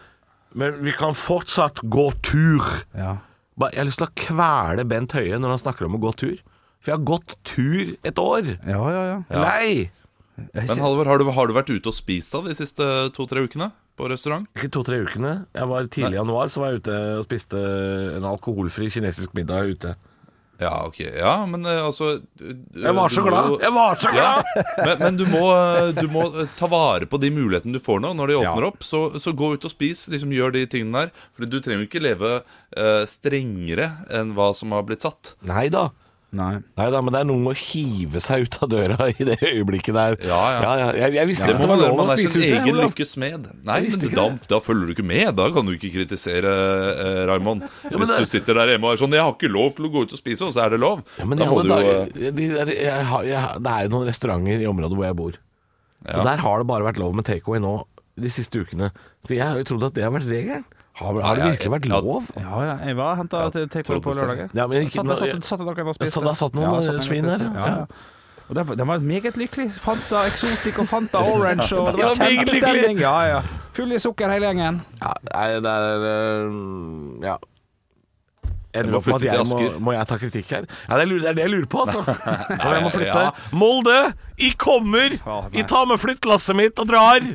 Speaker 3: Men vi kan fortsatt gå tur.
Speaker 5: Ja.
Speaker 3: Ba- Jeg har lyst til å kvele Bent Høie når han snakker om å gå tur. For jeg har gått tur et år.
Speaker 5: Ja, ja, ja.
Speaker 3: Nei!
Speaker 4: men Halvor, har du, har du vært ute og spist da de siste to-tre ukene? På restaurant?
Speaker 3: Ikke to-tre ukene. Jeg var Tidlig i januar så var jeg ute og spiste en alkoholfri kinesisk middag ute.
Speaker 4: Ja, ok. Ja, men eh, altså du- du-
Speaker 3: Jeg var
Speaker 4: du
Speaker 3: så
Speaker 4: må
Speaker 3: glad!
Speaker 4: jo-
Speaker 3: Jeg var så glad!
Speaker 4: Ja, men, men du, må, eh, du må eh, ta vare på de mulighetene du får nå. Når de åpner opp, så, så gå ut og spis. Liksom Gjør de tingene der. Fordi du trenger jo ikke leve eh, strengere enn hva som har blitt satt.
Speaker 3: Nei da.
Speaker 5: Nei.
Speaker 3: Nei da, men det er noe med å hive seg ut av døra i det øyeblikket der.
Speaker 4: Ja, ja.
Speaker 3: jeg, jeg visste
Speaker 4: Det
Speaker 3: ikke at
Speaker 4: må
Speaker 3: det
Speaker 4: man
Speaker 3: var
Speaker 4: gjøre.
Speaker 3: lov å
Speaker 4: Man er
Speaker 3: spise
Speaker 4: sin
Speaker 3: ute.
Speaker 4: egen
Speaker 3: Olav.
Speaker 4: lykkes smed. Nei,
Speaker 3: visste
Speaker 4: men
Speaker 3: ikke
Speaker 4: da,
Speaker 3: det.
Speaker 4: da følger du ikke med. Da kan du ikke kritisere eh, Raymond.
Speaker 3: men
Speaker 4: Hvis
Speaker 3: det-
Speaker 4: du sitter der hjemme og er sånn 'Jeg har ikke lov til å gå ut og spise', og så er det lov.
Speaker 3: Ja, men i
Speaker 4: da må
Speaker 3: alle
Speaker 4: du jo eh,
Speaker 3: dager, de der, jeg, har- jeg, det er jo noen restauranter i området hvor jeg bor. Og Der har det bare vært lov med takeaway nå de siste ukene. Så jeg har jo trodd at det har vært regelen. Har, har det
Speaker 4: Ja,
Speaker 3: virkelig vært
Speaker 4: ja,
Speaker 3: lov?
Speaker 5: Ja, ja, jeg var henta
Speaker 4: Ja,
Speaker 5: takeaway
Speaker 4: trodde
Speaker 5: på
Speaker 4: det selv.
Speaker 5: lørdagen.
Speaker 3: Ja, men ikke-
Speaker 5: satt,
Speaker 3: men-
Speaker 5: satt, satt, satt dere og spiste.
Speaker 3: Så der satt noen
Speaker 5: Ja, satt noen og
Speaker 3: svin
Speaker 5: spiste.
Speaker 3: der, ja.
Speaker 5: ja. ja. Og den, den var meget lykkelig. Fanta Exotic og Fanta Orange. Og det var kjempestemning! Ja, ja. Full i sukker hele gjengen.
Speaker 3: Ja, nei, det er øh, Ja. Jeg
Speaker 4: må
Speaker 3: lurer på at
Speaker 4: flytte til
Speaker 3: jeg må,
Speaker 4: Asker.
Speaker 3: må jeg ta kritikk her? Ja, det, er lurer, det er det jeg lurer på, altså. Om jeg må flytte.
Speaker 4: ja.
Speaker 3: Molde, i kommer! I tar med flyttlasset mitt og drar!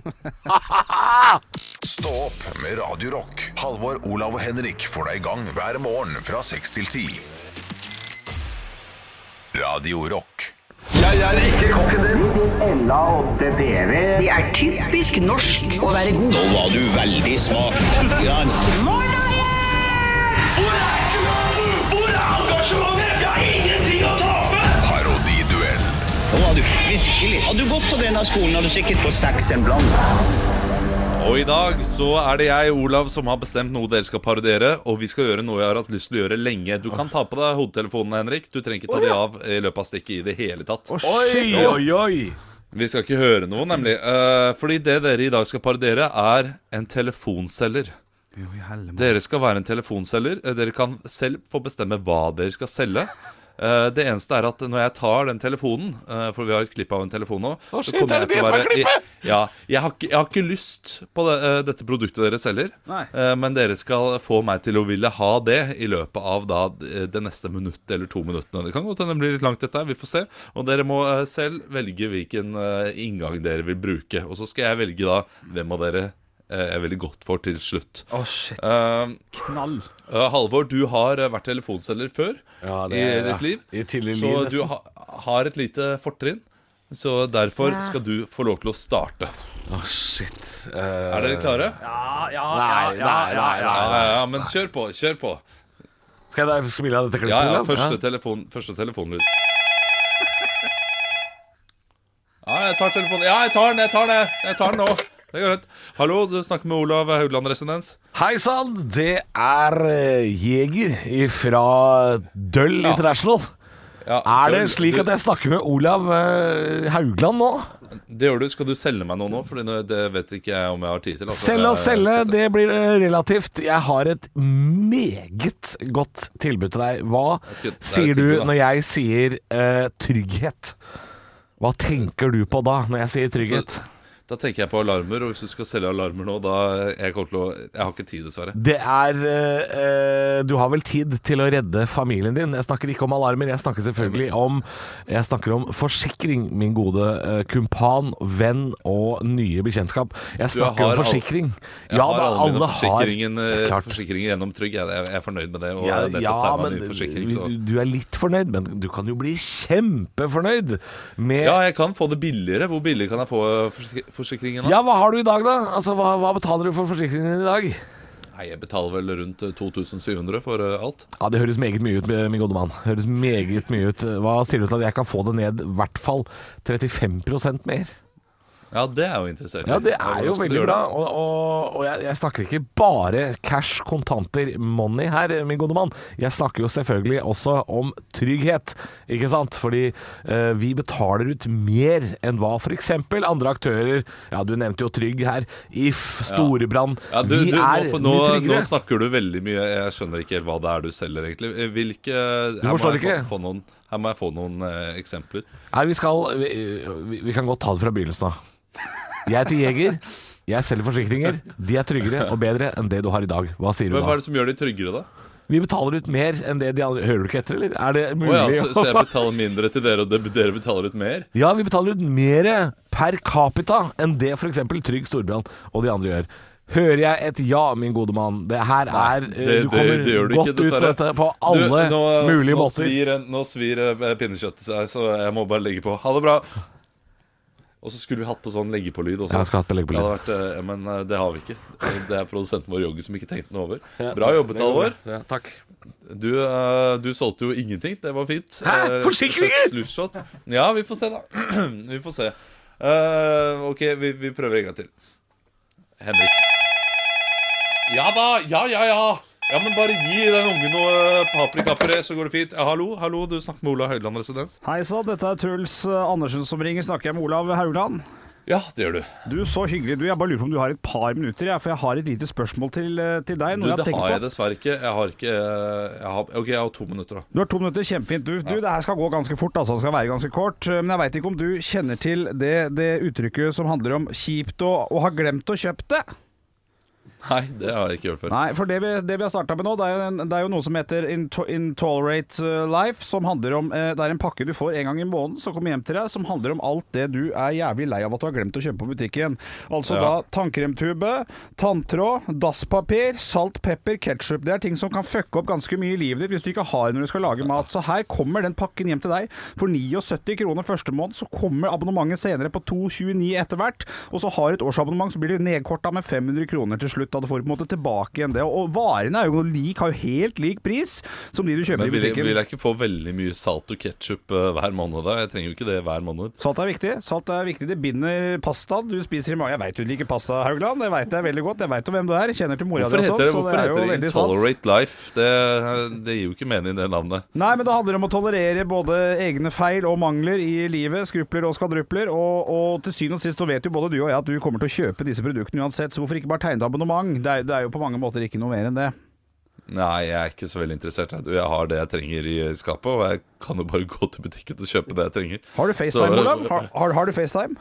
Speaker 1: Stå opp med Radio Rock. Halvor, Olav og Henrik får deg i gang hver morgen fra 6 til 10. Radio Rock.
Speaker 8: Det er typisk norsk å være god.
Speaker 10: Nå var du veldig smak. Grann.
Speaker 11: Hvor er engasjementet? Jeg har ingenting å tape!
Speaker 1: Parodiduell.
Speaker 10: Nå var du virkelig. Hadde du gått på denne skolen, hadde du sikkert fått seks en blant.
Speaker 4: Og i dag så er det jeg, Olav, som har bestemt noe dere skal parodiere. Og vi skal gjøre noe jeg har hatt lyst til å gjøre lenge. Du kan ta på deg hodetelefonene, Henrik. Du trenger ikke ta de av i løpet av stikket i det hele tatt.
Speaker 3: Oi, oi, oi!
Speaker 4: Vi skal ikke høre noe, nemlig. Eh, fordi det dere i dag skal parodiere, er en telefonselger. Dere skal være en telefonselger. Eh, Dere kan selv få bestemme hva dere skal selge. Eh, det eneste er at når jeg tar den telefonen, eh, for vi har et klipp av en telefon nå så
Speaker 3: shit, er
Speaker 4: kommer
Speaker 3: det det
Speaker 4: jeg til å
Speaker 3: som er
Speaker 4: være-
Speaker 3: klippet?
Speaker 4: Jeg, ja, jeg har, ikke, jeg har ikke lyst på det, eh, dette produktet dere selger,
Speaker 5: Nei.
Speaker 4: Eh, men dere skal få meg til å ville ha det i løpet av da eh, det neste minuttet eller to minuttene. Det kan godt hende det blir litt langt, dette her. Vi får se. Og dere må eh, selv velge hvilken eh, inngang dere vil bruke. Og så skal jeg velge da hvem av dere eh, jeg er veldig godt for til slutt.
Speaker 5: Å, shit.
Speaker 4: Eh,
Speaker 5: Knall.
Speaker 4: Eh, Halvor, du har eh, vært telefonselger før
Speaker 3: Ja, det-
Speaker 4: i
Speaker 3: ja.
Speaker 4: ditt liv.
Speaker 3: I tidlig
Speaker 4: så
Speaker 3: liv, nesten.
Speaker 4: du ha, har et lite fortrinn. Så derfor skal du få lov til å starte.
Speaker 3: Å, shit. Eh,
Speaker 4: Er dere klare?
Speaker 5: Ja, ja,
Speaker 3: Nei, nei, nei.
Speaker 4: Ja,
Speaker 3: nei.
Speaker 4: ja, ja, men kjør på. Kjør på.
Speaker 3: Skal jeg da spille av dette klippet?
Speaker 4: Ja, ja,
Speaker 3: Olav?
Speaker 4: første, telefon, første telefonlyd. Ja, jeg tar telefonen. Ja, jeg tar den, jeg tar den, jeg- jeg tar den nå. Det går greit. Hallo, du snakker med Olav Haugland Residens.
Speaker 3: Hei sann, det er eh, Jeger fra Døll International.
Speaker 4: Ja,
Speaker 3: Er det
Speaker 4: du-
Speaker 3: slik
Speaker 4: du-
Speaker 3: at jeg snakker med Olav eh, Haugland nå?
Speaker 4: Det gjør du. Skal du selge meg noe nå? For det vet ikke jeg om jeg har tid til. altså.
Speaker 3: Selge og
Speaker 4: Jeg-
Speaker 3: selge,
Speaker 4: jeg-
Speaker 3: det blir eh, relativt. Jeg har et meget godt tilbud til deg.
Speaker 4: Det er
Speaker 3: Hva
Speaker 4: et
Speaker 3: sier du
Speaker 4: tilbud, da.
Speaker 3: når jeg sier eh, trygghet? Hva tenker du på da, når jeg sier
Speaker 4: Altså,
Speaker 3: trygghet?
Speaker 4: Da tenker jeg på alarmer, og hvis du skal selge alarmer nå, da Jeg, kommer til å, jeg har ikke tid, dessverre.
Speaker 3: Det er eh, eh, Du har vel tid til å redde familien din. Jeg snakker ikke om alarmer, jeg snakker selvfølgelig om Jeg snakker om forsikring, min gode eh, kumpan, venn og nye bekjentskap. Jeg snakker
Speaker 4: har
Speaker 3: om
Speaker 4: all-
Speaker 3: forsikring.
Speaker 4: Jeg
Speaker 3: ja,
Speaker 4: har
Speaker 3: da,
Speaker 4: alle mine
Speaker 3: alle har
Speaker 4: forsikringen,
Speaker 3: Det er
Speaker 4: eh,
Speaker 3: klart.
Speaker 4: forsikringer gjennom Trygg. Jeg, jeg, jeg er fornøyd med det.
Speaker 3: Ja,
Speaker 4: Og jeg har nettopp
Speaker 3: ja,
Speaker 4: tegnet en
Speaker 3: men
Speaker 4: ny forsikring, så.
Speaker 3: du, du er litt fornøyd, men du kan jo bli kjempefornøyd med
Speaker 4: Ja,
Speaker 3: ja,
Speaker 4: jeg kan få det billigere. Hvor billig kan jeg få eh, forsik forsikringen? da?
Speaker 3: hva har du i dag, da? Altså, Hva, hva betaler du for forsikringen din i dag?
Speaker 4: Nei, jeg betaler vel rundt eh, 2700 for eh, alt.
Speaker 3: Ja, Det høres meget mye ut, min gode mann. Høres meget mye ut. Hva sier du til at jeg kan få det ned i hvert fall 35 mer?
Speaker 4: Ja, det er jo interessert. i.
Speaker 3: Ja, det
Speaker 4: hvordan
Speaker 3: er jo
Speaker 4: skal du
Speaker 3: veldig
Speaker 4: gjøre
Speaker 3: bra.
Speaker 4: det?
Speaker 3: Og, og, og jeg, jeg snakker ikke bare cash, kontanter, money her, min gode mann. Jeg snakker jo selvfølgelig også om trygghet, ikke sant? Fordi eh, vi betaler ut mer enn hva f.eks. andre aktører Ja, du nevnte jo Trygg her. If, Storebrand.
Speaker 4: Ja, du,
Speaker 3: vi
Speaker 4: du,
Speaker 3: er
Speaker 4: nå, nå,
Speaker 3: mye
Speaker 4: nå
Speaker 3: tryggere.
Speaker 4: snakker du veldig mye. Jeg skjønner ikke helt hva det er du selger, egentlig. Eh, Hvilke Du
Speaker 3: forstår ikke?
Speaker 4: Få noen, her må jeg få noen eh, eksempler.
Speaker 3: Nei, vi skal vi, vi, vi kan godt ta det fra begynnelsen av. Jeg heter Jeger. Jeg selger forsikringer. De er tryggere og bedre enn det du har i dag. Hva sier du
Speaker 4: Men Hva
Speaker 3: da?
Speaker 4: er det som gjør de tryggere, da?
Speaker 3: Vi betaler ut mer enn det de andre Hører du ikke etter, eller? Er det
Speaker 4: Å
Speaker 3: mulig?
Speaker 4: ja, så, så
Speaker 3: å-
Speaker 4: jeg betaler mindre til dere, og de- dere betaler ut mer?
Speaker 3: Ja, vi betaler ut mer per capita enn det f.eks. Trygg Storbrann og de andre gjør. hører jeg et ja, min gode mann. Det her er eh,
Speaker 4: Det,
Speaker 3: Du
Speaker 4: det,
Speaker 3: kommer
Speaker 4: det gjør du
Speaker 3: godt
Speaker 4: ikke, dessverre.
Speaker 3: ut på dette på alle
Speaker 4: Du, nå,
Speaker 3: mulige
Speaker 4: nå
Speaker 3: måter.
Speaker 4: Svir, nå svir eh, pinnekjøttet seg, så jeg må bare legge på. Ha det bra. Og så skulle vi hatt på sånn legge-på-lyd også.
Speaker 3: Ja, jeg skulle hatt på legge på lyd.
Speaker 4: Det hadde vært, eh, men eh, det har vi ikke. Det er produsenten vår Jogge som ikke tenkte noe over. Bra jobbet, Alvor.
Speaker 3: Ja, takk.
Speaker 4: Du, eh, du solgte jo ingenting. Det var fint.
Speaker 3: Hæ?
Speaker 4: Eh,
Speaker 3: Forsikringer?
Speaker 4: kjøpt slushshot. Ja, vi får se, da. vi får se. Eh, OK, vi, vi prøver en gang til. Henrik. Ja da! Ja, ja, ja! Ja, men Bare gi den ungen noe eh, paprikapuré, så går det fint. Ja, hallo, hallo, du snakker med Ola Høyland Residens.
Speaker 5: Hei sann, dette er Truls eh, Andersen som ringer. Snakker jeg med Olav Haugland?
Speaker 4: Ja, det gjør du.
Speaker 5: Du, så hyggelig. Du, jeg bare lurer på om du har et par minutter, jeg, for jeg har et lite spørsmål til, eh, til deg.
Speaker 4: du det
Speaker 5: Noe jeg har tenkt
Speaker 4: har
Speaker 5: på.
Speaker 4: jeg dessverre ikke. Jeg har ikke eh, jeg har, OK, jeg har to minutter, da.
Speaker 5: Du har to minutter, kjempefint. Du, du det her skal gå ganske fort, altså. Det skal være ganske kort. Men jeg veit ikke om du kjenner til det, det uttrykket som handler om 'kjipt å, å ha glemt å kjøpt det'.
Speaker 4: Nei, det har jeg ikke gjort før.
Speaker 5: Nei, for det vi, det vi har starta med nå, det er, jo en, det er jo noe som heter Into- Intolerate eh, Life, som handler om eh, Det er en pakke du får en gang i måneden som kommer hjem til deg, som handler om alt det du er jævlig lei av at du har glemt å kjøpe på butikken. Altså da
Speaker 4: Ja.
Speaker 5: tannkremtube, tanntråd, dasspapir, salt, pepper, ketsjup. Det er ting som kan fucke opp ganske mye i livet ditt hvis du ikke har når du skal lage mat. Så her kommer den pakken hjem til deg for 79 kroner første måned, så kommer abonnementet senere på 2,29 etter hvert, og så har du et årsabonnement, så blir det nedkorta med 500 kroner til slutt, da du får på en måte tilbake igjen det. Og varene er jo lik, har jo helt lik pris som de du kjøper
Speaker 4: Men
Speaker 5: i
Speaker 4: vil, jeg-
Speaker 5: butikken.
Speaker 4: vil jeg ikke få veldig mye salt og ketsjup hver måned, da? Jeg trenger jo ikke det hver måned.
Speaker 5: Salt er viktig. Salt er viktig. Det binder pasta. Du spiser i magen. Jeg veit du liker pasta, Haugland. Det veit jeg veldig godt. Jeg veit jo hvem du er. Kjenner til mora di
Speaker 4: Hvorfor
Speaker 5: og
Speaker 4: heter
Speaker 5: sånn.
Speaker 4: det,
Speaker 5: så
Speaker 4: hvorfor
Speaker 5: er
Speaker 4: heter
Speaker 5: jo
Speaker 4: det
Speaker 5: veldig stas.
Speaker 4: Intolerate Life? Det, det gir jo ikke mening, det navnet.
Speaker 5: Nei, men det handler om å tolerere både egne feil og mangler i livet. Skrupler og skvadrupler. Og, og til syvende og sist så vet jo både du og jeg at du kommer til å kjøpe disse produktene uansett, så hvorfor ikke bare tegne et abonnement? Det er, det er jo på mange måter ikke noe mer enn det.
Speaker 4: Nei, jeg er ikke så veldig interessert. jeg. Du, Jeg har det jeg trenger i skapet, og jeg kan jo bare gå til butikken og kjøpe det jeg trenger.
Speaker 5: Har du FaceTime,
Speaker 4: Så-
Speaker 5: Olav? Har, har, har du FaceTime?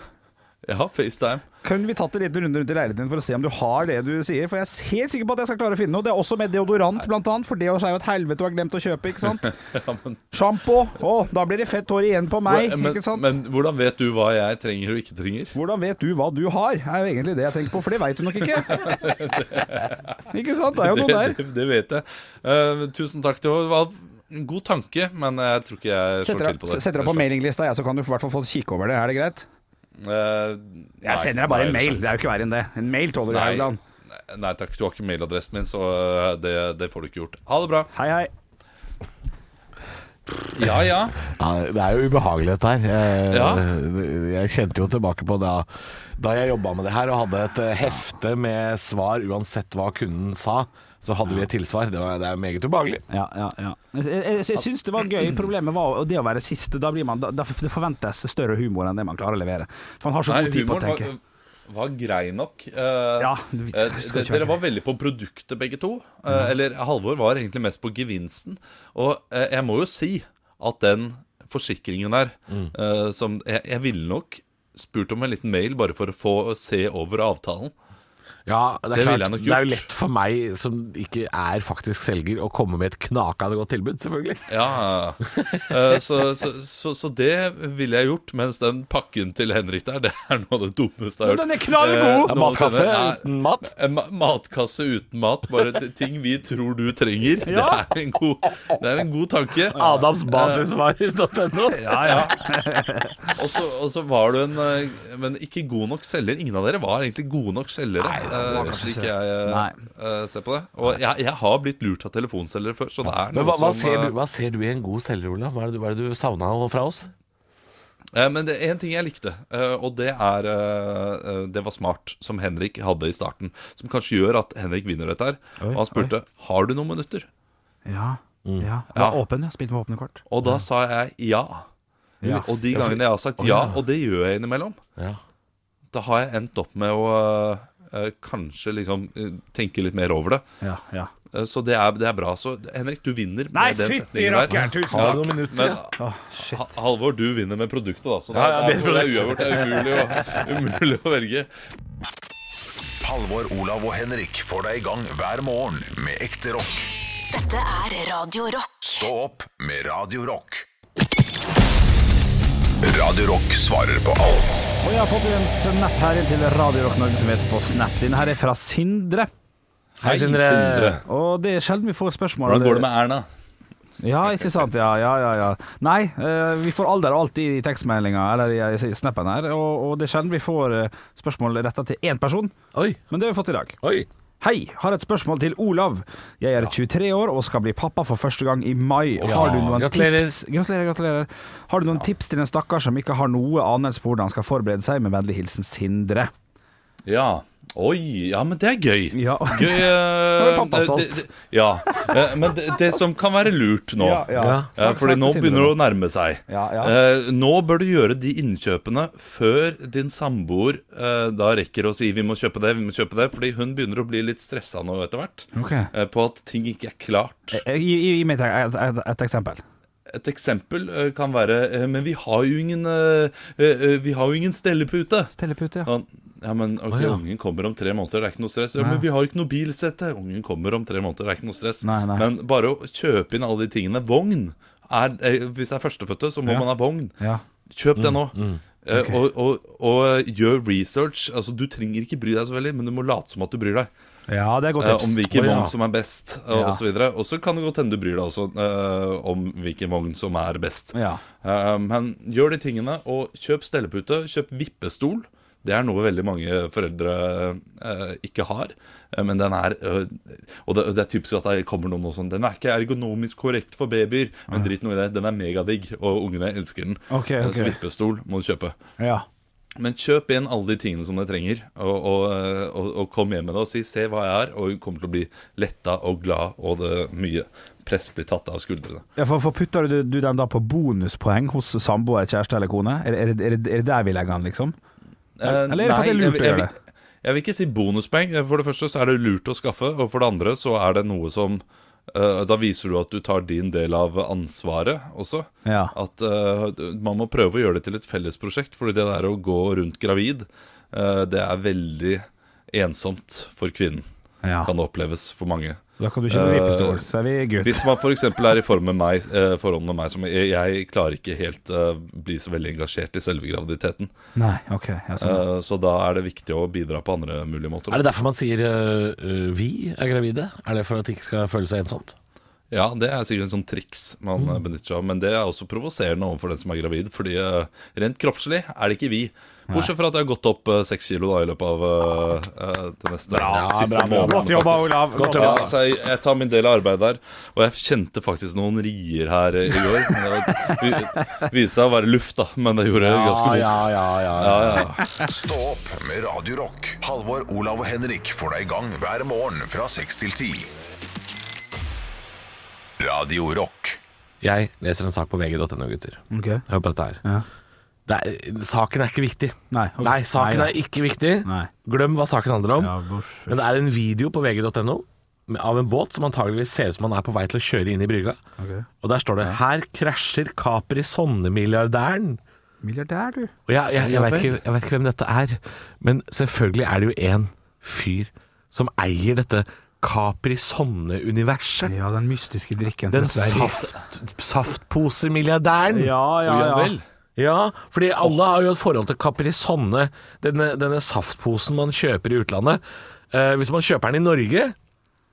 Speaker 4: Jeg har FaceTime.
Speaker 5: Kunne vi tatt en liten runde rundt i leiligheten din for å se om du har det du sier? For jeg er helt sikker på at jeg skal klare å finne noe. Det er også med deodorant, blant annet, for det også er jo et helvete du har glemt å kjøpe, ikke sant? Sjampo. Å, da blir det fett hår igjen på meg,
Speaker 4: men,
Speaker 5: ikke sant?
Speaker 4: men hvordan vet du hva jeg trenger og ikke trenger?
Speaker 5: Hvordan vet du hva du har, er jo egentlig det jeg tenker på, for det veit du nok ikke. ikke sant? Det er jo noe
Speaker 4: Det,
Speaker 5: der.
Speaker 4: det, det vet jeg. Eh, tusen takk. Det var en god tanke, men jeg tror ikke jeg slår
Speaker 5: Setter
Speaker 4: til
Speaker 5: deg
Speaker 4: på det.
Speaker 5: setter deg på mailinglista, jeg, så kan du i hvert fall få kikke over det. Er det greit?
Speaker 4: Eh,
Speaker 5: Jeg sender deg bare en mail. Det er jo ikke verre enn det. En mail tåler du,
Speaker 4: Nei.
Speaker 5: Haugland.
Speaker 4: Nei takk, du har ikke mailadressen min, så eh, det, det får du ikke gjort. Ha det bra.
Speaker 5: Hei, hei.
Speaker 4: Ja, ja.
Speaker 3: Ja, det er jo ubehagelig dette her. Jeg,
Speaker 4: Ja.
Speaker 3: jeg kjente jo tilbake på da, da jeg jobba med det her og hadde et eh, hefte med svar uansett hva kunden sa. Så hadde vi et tilsvar. Det, var, det er meget ubehagelig.
Speaker 5: Ja, ja, ja. Jeg, jeg, jeg syns det var gøy. Problemet var det å være siste. Da blir man, da, da- det forventes større humor enn det man klarer å levere. For man har så
Speaker 4: Nei,
Speaker 5: god tid på å
Speaker 4: humoren
Speaker 5: tenke.
Speaker 4: var, var grei nok. Eh,
Speaker 5: Ja, vi skal-
Speaker 4: eh,
Speaker 5: skal
Speaker 4: de-
Speaker 5: kjøre
Speaker 4: dere var veldig på produktet, begge to. Eh,
Speaker 5: Mhm.
Speaker 4: Eller Halvor var egentlig mest på gevinsten. Og eh, jeg må jo si at den forsikringen der
Speaker 5: Mm.
Speaker 4: eh, som jeg, jeg ville nok spurt om en liten mail bare for å få se over avtalen.
Speaker 3: Ja, det er,
Speaker 4: Det ville jeg
Speaker 3: klart,
Speaker 4: nok
Speaker 3: det er jo
Speaker 4: gjort.
Speaker 3: lett for meg, som ikke er faktisk selger, å komme med et knakende godt tilbud, selvfølgelig.
Speaker 4: Ja, eh, så, så, så, så det ville jeg gjort, mens den pakken til Henrik der, det er noe av det dummeste jeg har hørt.
Speaker 5: Men den er knallgod!
Speaker 4: Eh, noen
Speaker 3: Matkasse
Speaker 4: sender-
Speaker 3: uten mat.
Speaker 4: En ma- matkasse uten mat, bare t- ting vi tror du trenger. Det, er en god, det er en god tanke. Eh,
Speaker 3: Adamsbasisvarer.no.
Speaker 4: Og så- Og så var du en eh, Men ikke god nok selger. Ingen av dere var egentlig gode nok selgere, eh, slik jeg eh, eh, ser på det. Og jeg, jeg har blitt lurt av telefonselgere før, så det er noe
Speaker 3: Men hva, hva,
Speaker 4: som
Speaker 3: ser
Speaker 4: eh,
Speaker 3: du, hva ser du i en god selger, Olav? Hva er det, du- hva er det du savna fra oss?
Speaker 4: Eh, Men det er en ting jeg likte, eh, og det er eh, eh, Det var smart, som Henrik hadde i starten. Som kanskje gjør at Henrik vinner dette her. Og han spurte har du noen minutter.
Speaker 5: Ja. Mm. ja.
Speaker 4: Ja.
Speaker 5: Var åpen, ja. Spilte med åpne kort.
Speaker 4: Og da sa jeg ja.
Speaker 5: Ja.
Speaker 4: Og de gangene jeg har sagt ja, og det gjør jeg innimellom,
Speaker 3: Ja.
Speaker 4: da har jeg endt opp med å eh, eh, kanskje liksom eh, tenke litt mer over det.
Speaker 5: Ja, ja.
Speaker 4: Eh, Så det er, det er bra. Så Henrik, du vinner
Speaker 5: Nei,
Speaker 4: med den
Speaker 5: fytti
Speaker 4: setningen
Speaker 5: rakkeren,
Speaker 4: der.
Speaker 5: tusen
Speaker 4: Ja,
Speaker 5: takk.
Speaker 4: Men Ha- Halvor, du vinner med produktet, da. Så det,
Speaker 3: Ja, ja,
Speaker 4: det, er, det
Speaker 3: med
Speaker 4: er uavgjort. Det er umulig å, umulig å velge.
Speaker 1: Halvor, Olav og Henrik får deg i gang hver morgen med ekte rock.
Speaker 2: Dette er Radio Rock.
Speaker 1: Stå opp med Radio Rock. Radio Rock svarer på alt.
Speaker 5: Og jeg har fått en snap her inn til Radio Rock Norge som heter på Snap. Denne her er fra Sindre.
Speaker 4: Hei, Sindre.
Speaker 5: Og det er sjelden vi får spørsmål.
Speaker 4: Hvordan går det med Erna?
Speaker 5: Ja, ikke sant. Ja, ja, ja. ja. Nei, eh, vi får alder alltid i tekstmeldinga, eller i, i, i snappen her, og, og det er sjelden vi får eh, spørsmål retta til én person,
Speaker 3: Oi,
Speaker 5: men det har vi fått i dag.
Speaker 3: oi.
Speaker 5: Hei, har et spørsmål til Olav. Jeg er 23 år og skal bli pappa for første gang i mai. Har du noen
Speaker 3: gratulerer.
Speaker 5: tips Gratulerer, gratulerer. Har du noen tips til en stakkar som ikke har noe anelse på hvordan han skal forberede seg? Med vennlig hilsen Sindre.
Speaker 4: Ja. Oi, ja, men det er gøy.
Speaker 5: Ja.
Speaker 4: Gøy
Speaker 5: er
Speaker 4: eh,
Speaker 5: pappa stolt.
Speaker 4: det- det- Ja. eh, Men det, det som kan være lurt nå
Speaker 3: Ja.
Speaker 4: Eh, Fordi nå begynner det å
Speaker 5: du
Speaker 4: nærme seg.
Speaker 5: Ja, ja.
Speaker 4: Eh, nå bør du gjøre de innkjøpene før din samboer eh, da rekker å si 'vi må kjøpe det', vi må kjøpe det, fordi hun begynner å bli litt stressa nå etter hvert.
Speaker 5: Ok. Eh.
Speaker 4: eh, på at ting ikke er klart.
Speaker 5: Gi, gi, gi meg et, et, et eksempel.
Speaker 4: Et eksempel eh, kan være eh, 'men vi har jo ingen eh, eh, eh, Vi har jo ingen stellepute'.
Speaker 5: Tellepute, ja.
Speaker 4: Han, ja, men ok,
Speaker 3: Å, ja.
Speaker 4: ungen kommer om tre måneder, det er ikke noe stress. Ja, men vi har jo ikke noe bilsette. Ungen kommer om tre måneder, det er ikke noe stress.
Speaker 5: Nei, nei.
Speaker 4: Men bare å kjøpe inn alle de tingene. Vogn! Er, eh, hvis det er førstefødte, så må
Speaker 5: Ja.
Speaker 4: man ha vogn.
Speaker 5: ja. Mm,
Speaker 4: Kjøp det nå. Eh, og, og, og eh, gjør research. Altså, du trenger ikke bry deg så veldig, men du må late som at du bryr deg.
Speaker 5: Ja, det er godt
Speaker 4: eh,
Speaker 5: tips.
Speaker 4: om hvilken
Speaker 3: Å, ja.
Speaker 4: vogn som er best, eh,
Speaker 5: Ja.
Speaker 4: og så videre. Og så kan det godt hende du bryr deg også eh, om hvilken vogn som er best.
Speaker 5: Ja.
Speaker 4: Eh, men gjør de tingene, og kjøp stellepute. Kjøp vippestol. Det er noe veldig mange foreldre eh, ikke har. eh, men den er eh, Og det, det er typisk at det kommer noen og sånn Den er ikke ergonomisk korrekt for babyer, men drit noe i det. Den er megadigg, og ungene elsker den.
Speaker 5: Ok,
Speaker 4: Eh,
Speaker 5: ok.
Speaker 4: Så vippestol må du kjøpe.
Speaker 5: ja.
Speaker 4: Men kjøp inn alle de tingene som dere trenger, og, og, eh, og, og kom hjem med det og si 'se hva jeg er', og hun kommer til å bli letta og glad, og det mye press blir tatt av skuldrene.
Speaker 5: Ja, for, for putter du, du den da på bonuspoeng hos samboer, kjæreste eller kone? Er, er, er, er det der vi legger den, liksom?
Speaker 4: Eh,
Speaker 5: Eller er det for at det er
Speaker 4: nei,
Speaker 5: lurt å
Speaker 4: jeg, jeg,
Speaker 5: gjøre
Speaker 4: vil- jeg vil ikke si bonuspoeng. For det første så er det lurt å skaffe, og for det andre så er det noe som eh, Da viser du at du tar din del av ansvaret også.
Speaker 5: Ja.
Speaker 4: At eh, man må prøve å gjøre det til et fellesprosjekt, fordi det der å gå rundt gravid, eh, det er veldig ensomt for kvinnen.
Speaker 5: Ja.
Speaker 4: Kan det oppleves for mange.
Speaker 5: Da kan du kjøpe
Speaker 4: Eh,
Speaker 5: vippestol, så er vi good.
Speaker 4: Hvis man f.eks. er i form med meg, eh, forhold med meg som jeg, jeg klarer ikke helt eh, bli så veldig engasjert i selve graviditeten.
Speaker 5: Nei, ok. sånn. Jeg skjønner.
Speaker 4: Eh, så da er det viktig å bidra på andre mulige måter.
Speaker 3: Er det derfor man sier øh, øh, 'vi er gravide'? Er det for at det ikke skal føle seg ensomt?
Speaker 4: Ja, det er sikkert en sånn triks man
Speaker 3: Mm.
Speaker 4: eh, benytter seg av. Men det er også provoserende overfor den som er gravid, fordi eh, rent kroppslig er det ikke vi. Bortsett fra at jeg har gått opp eh, seks kilo da i løpet av eh, eh, det neste siste måneden.
Speaker 5: Godt jobba,
Speaker 4: faktisk.
Speaker 5: Olav. Godt
Speaker 4: Ja,
Speaker 5: jobba.
Speaker 4: altså, jeg, jeg tar min del av arbeidet der. Og jeg kjente faktisk noen rier her eh, i går. Det vi- viste seg å være luft, da, men det gjorde ganske vondt.
Speaker 3: ja, ja, ja, ja.
Speaker 1: Stå opp med Radio Rock. Halvor, Olav og Henrik får deg i gang hver morgen fra 6 til 10. Radio Rock.
Speaker 3: Jeg leser en sak på vg.no, gutter.
Speaker 5: Ok.
Speaker 3: Hør på dette her.
Speaker 5: Ja.
Speaker 3: Det er, saken er ikke viktig.
Speaker 5: Nei, ok.
Speaker 3: Nei saken
Speaker 5: Nei,
Speaker 3: er ikke viktig.
Speaker 5: Nei.
Speaker 3: Glem hva saken handler om.
Speaker 5: Ja, bortsett.
Speaker 3: Men det er en video på vg.no med- av en båt som antageligvis ser ut som han er på vei til å kjøre inn i brygga.
Speaker 5: Ok.
Speaker 3: Og der står det 'Her krasjer Capri Sonne-milliardæren'.
Speaker 5: Milliardær, du.
Speaker 3: Og jeg, jeg, jeg, vet ikke, jeg vet ikke hvem dette er, men selvfølgelig er det jo en fyr som eier dette Capri Sonne-universet.
Speaker 5: Ja, den mystiske drikken.
Speaker 3: Den
Speaker 5: fra Sverige.
Speaker 3: saft, saftposemilliardæren.
Speaker 5: Ja, ja,
Speaker 4: Ja
Speaker 5: ja.
Speaker 4: vel.
Speaker 3: Ja, fordi alle har jo et forhold til Caprisonne, denne, denne saftposen man kjøper i utlandet. Eh, hvis man kjøper den i Norge,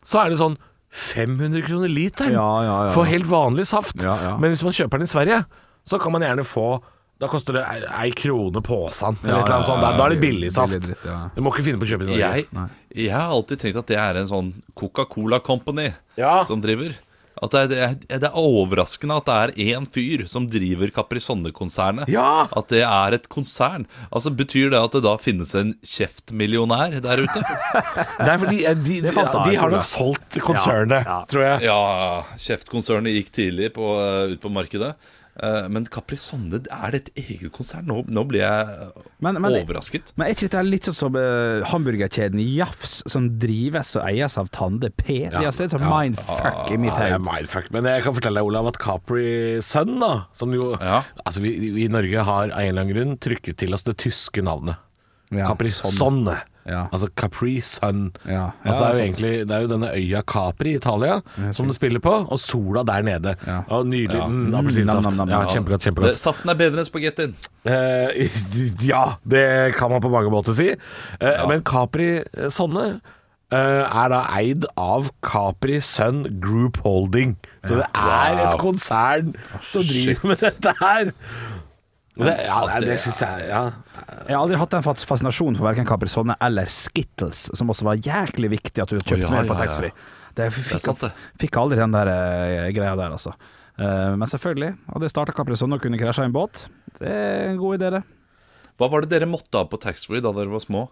Speaker 3: så er det sånn 500 kroner literen
Speaker 5: Ja, ja, ja.
Speaker 3: for helt vanlig saft.
Speaker 5: Ja, ja.
Speaker 3: Men hvis man kjøper den i Sverige, så kan man gjerne få da koster det ei- ei krone posen. eller et eller annet sånt. Da- Da er det billig saft.
Speaker 5: Billig dritt, ja.
Speaker 3: Du må ikke finne på å kjøpe i Norge.
Speaker 4: Jeg, jeg har alltid tenkt at det er en sånn Coca-Cola Company
Speaker 3: Ja.
Speaker 4: som driver. At det, er, det er- det er overraskende at det er én fyr som driver Caprisonne-konsernet.
Speaker 3: Ja!
Speaker 4: At det er et konsern. Altså Betyr det at det da finnes en kjeftmillionær der ute?
Speaker 3: Det er fordi eh, de, de,
Speaker 5: fant jeg,
Speaker 3: de har
Speaker 5: tror
Speaker 3: nok solgt konsernet, tror jeg.
Speaker 4: Ja, kjeftkonsernet gikk tidlig på, eh, ut på markedet. Eh, Men Caprisonne, er det et eget konsern? Nå, nå blir jeg
Speaker 5: Men- men-
Speaker 4: overrasket.
Speaker 5: Men er ikke dette litt sånn som eh, hamburgerkjeden Jafs, som drives og eies av Tande P? De har sett sånn mindfuck i mitt
Speaker 3: Ja, det er
Speaker 5: hode.
Speaker 3: mindfuck. Men jeg kan fortelle deg, Olav, at Capri Sun, da, som jo
Speaker 4: Ja.
Speaker 3: Altså, vi, vi i Norge har av en eller annen grunn trykket til oss det tyske navnet.
Speaker 5: Ja,
Speaker 3: Capri Sonne.
Speaker 7: Ja.
Speaker 3: Altså Capri Sun.
Speaker 7: Ja.
Speaker 3: altså, det, er jo
Speaker 7: Ja, sant.
Speaker 3: egentlig, det er jo denne øya Capri i Italia som det spiller på, og sola der nede. Og nydelig mm,
Speaker 7: Nam,
Speaker 3: appelsinsaft.
Speaker 7: nam, nam,
Speaker 3: ja,
Speaker 7: nam.
Speaker 3: kjempegodt,
Speaker 4: Det,
Speaker 3: kjempegodt.
Speaker 4: Eh, saften er bedre enn spagettien.
Speaker 3: Eh, ja, det kan man på mange måter si. Eh, Men Capri eh, sånne eh, er da eid av Capri Sun Group Holding. Så det er et konsern som driver
Speaker 4: Ah, shit.
Speaker 3: med dette her. Og Det, ja, det, det
Speaker 4: det
Speaker 3: syns jeg ja.
Speaker 5: Jeg har aldri hatt den fas- fascinasjonen for verken Caprisonne eller Skittles, som også var jæklig viktig at du kjøpte
Speaker 4: ja,
Speaker 5: med
Speaker 4: ja,
Speaker 5: på
Speaker 4: ja.
Speaker 5: taxfree. Det fikk,
Speaker 4: sant, det.
Speaker 5: fikk aldri den der eh, greia der, altså. Eh, men selvfølgelig, hadde jeg starta Caprisonne og kunne krasja i en båt, det er en god idé, det.
Speaker 4: Hva var det dere måtte ha på taxfree da dere var små?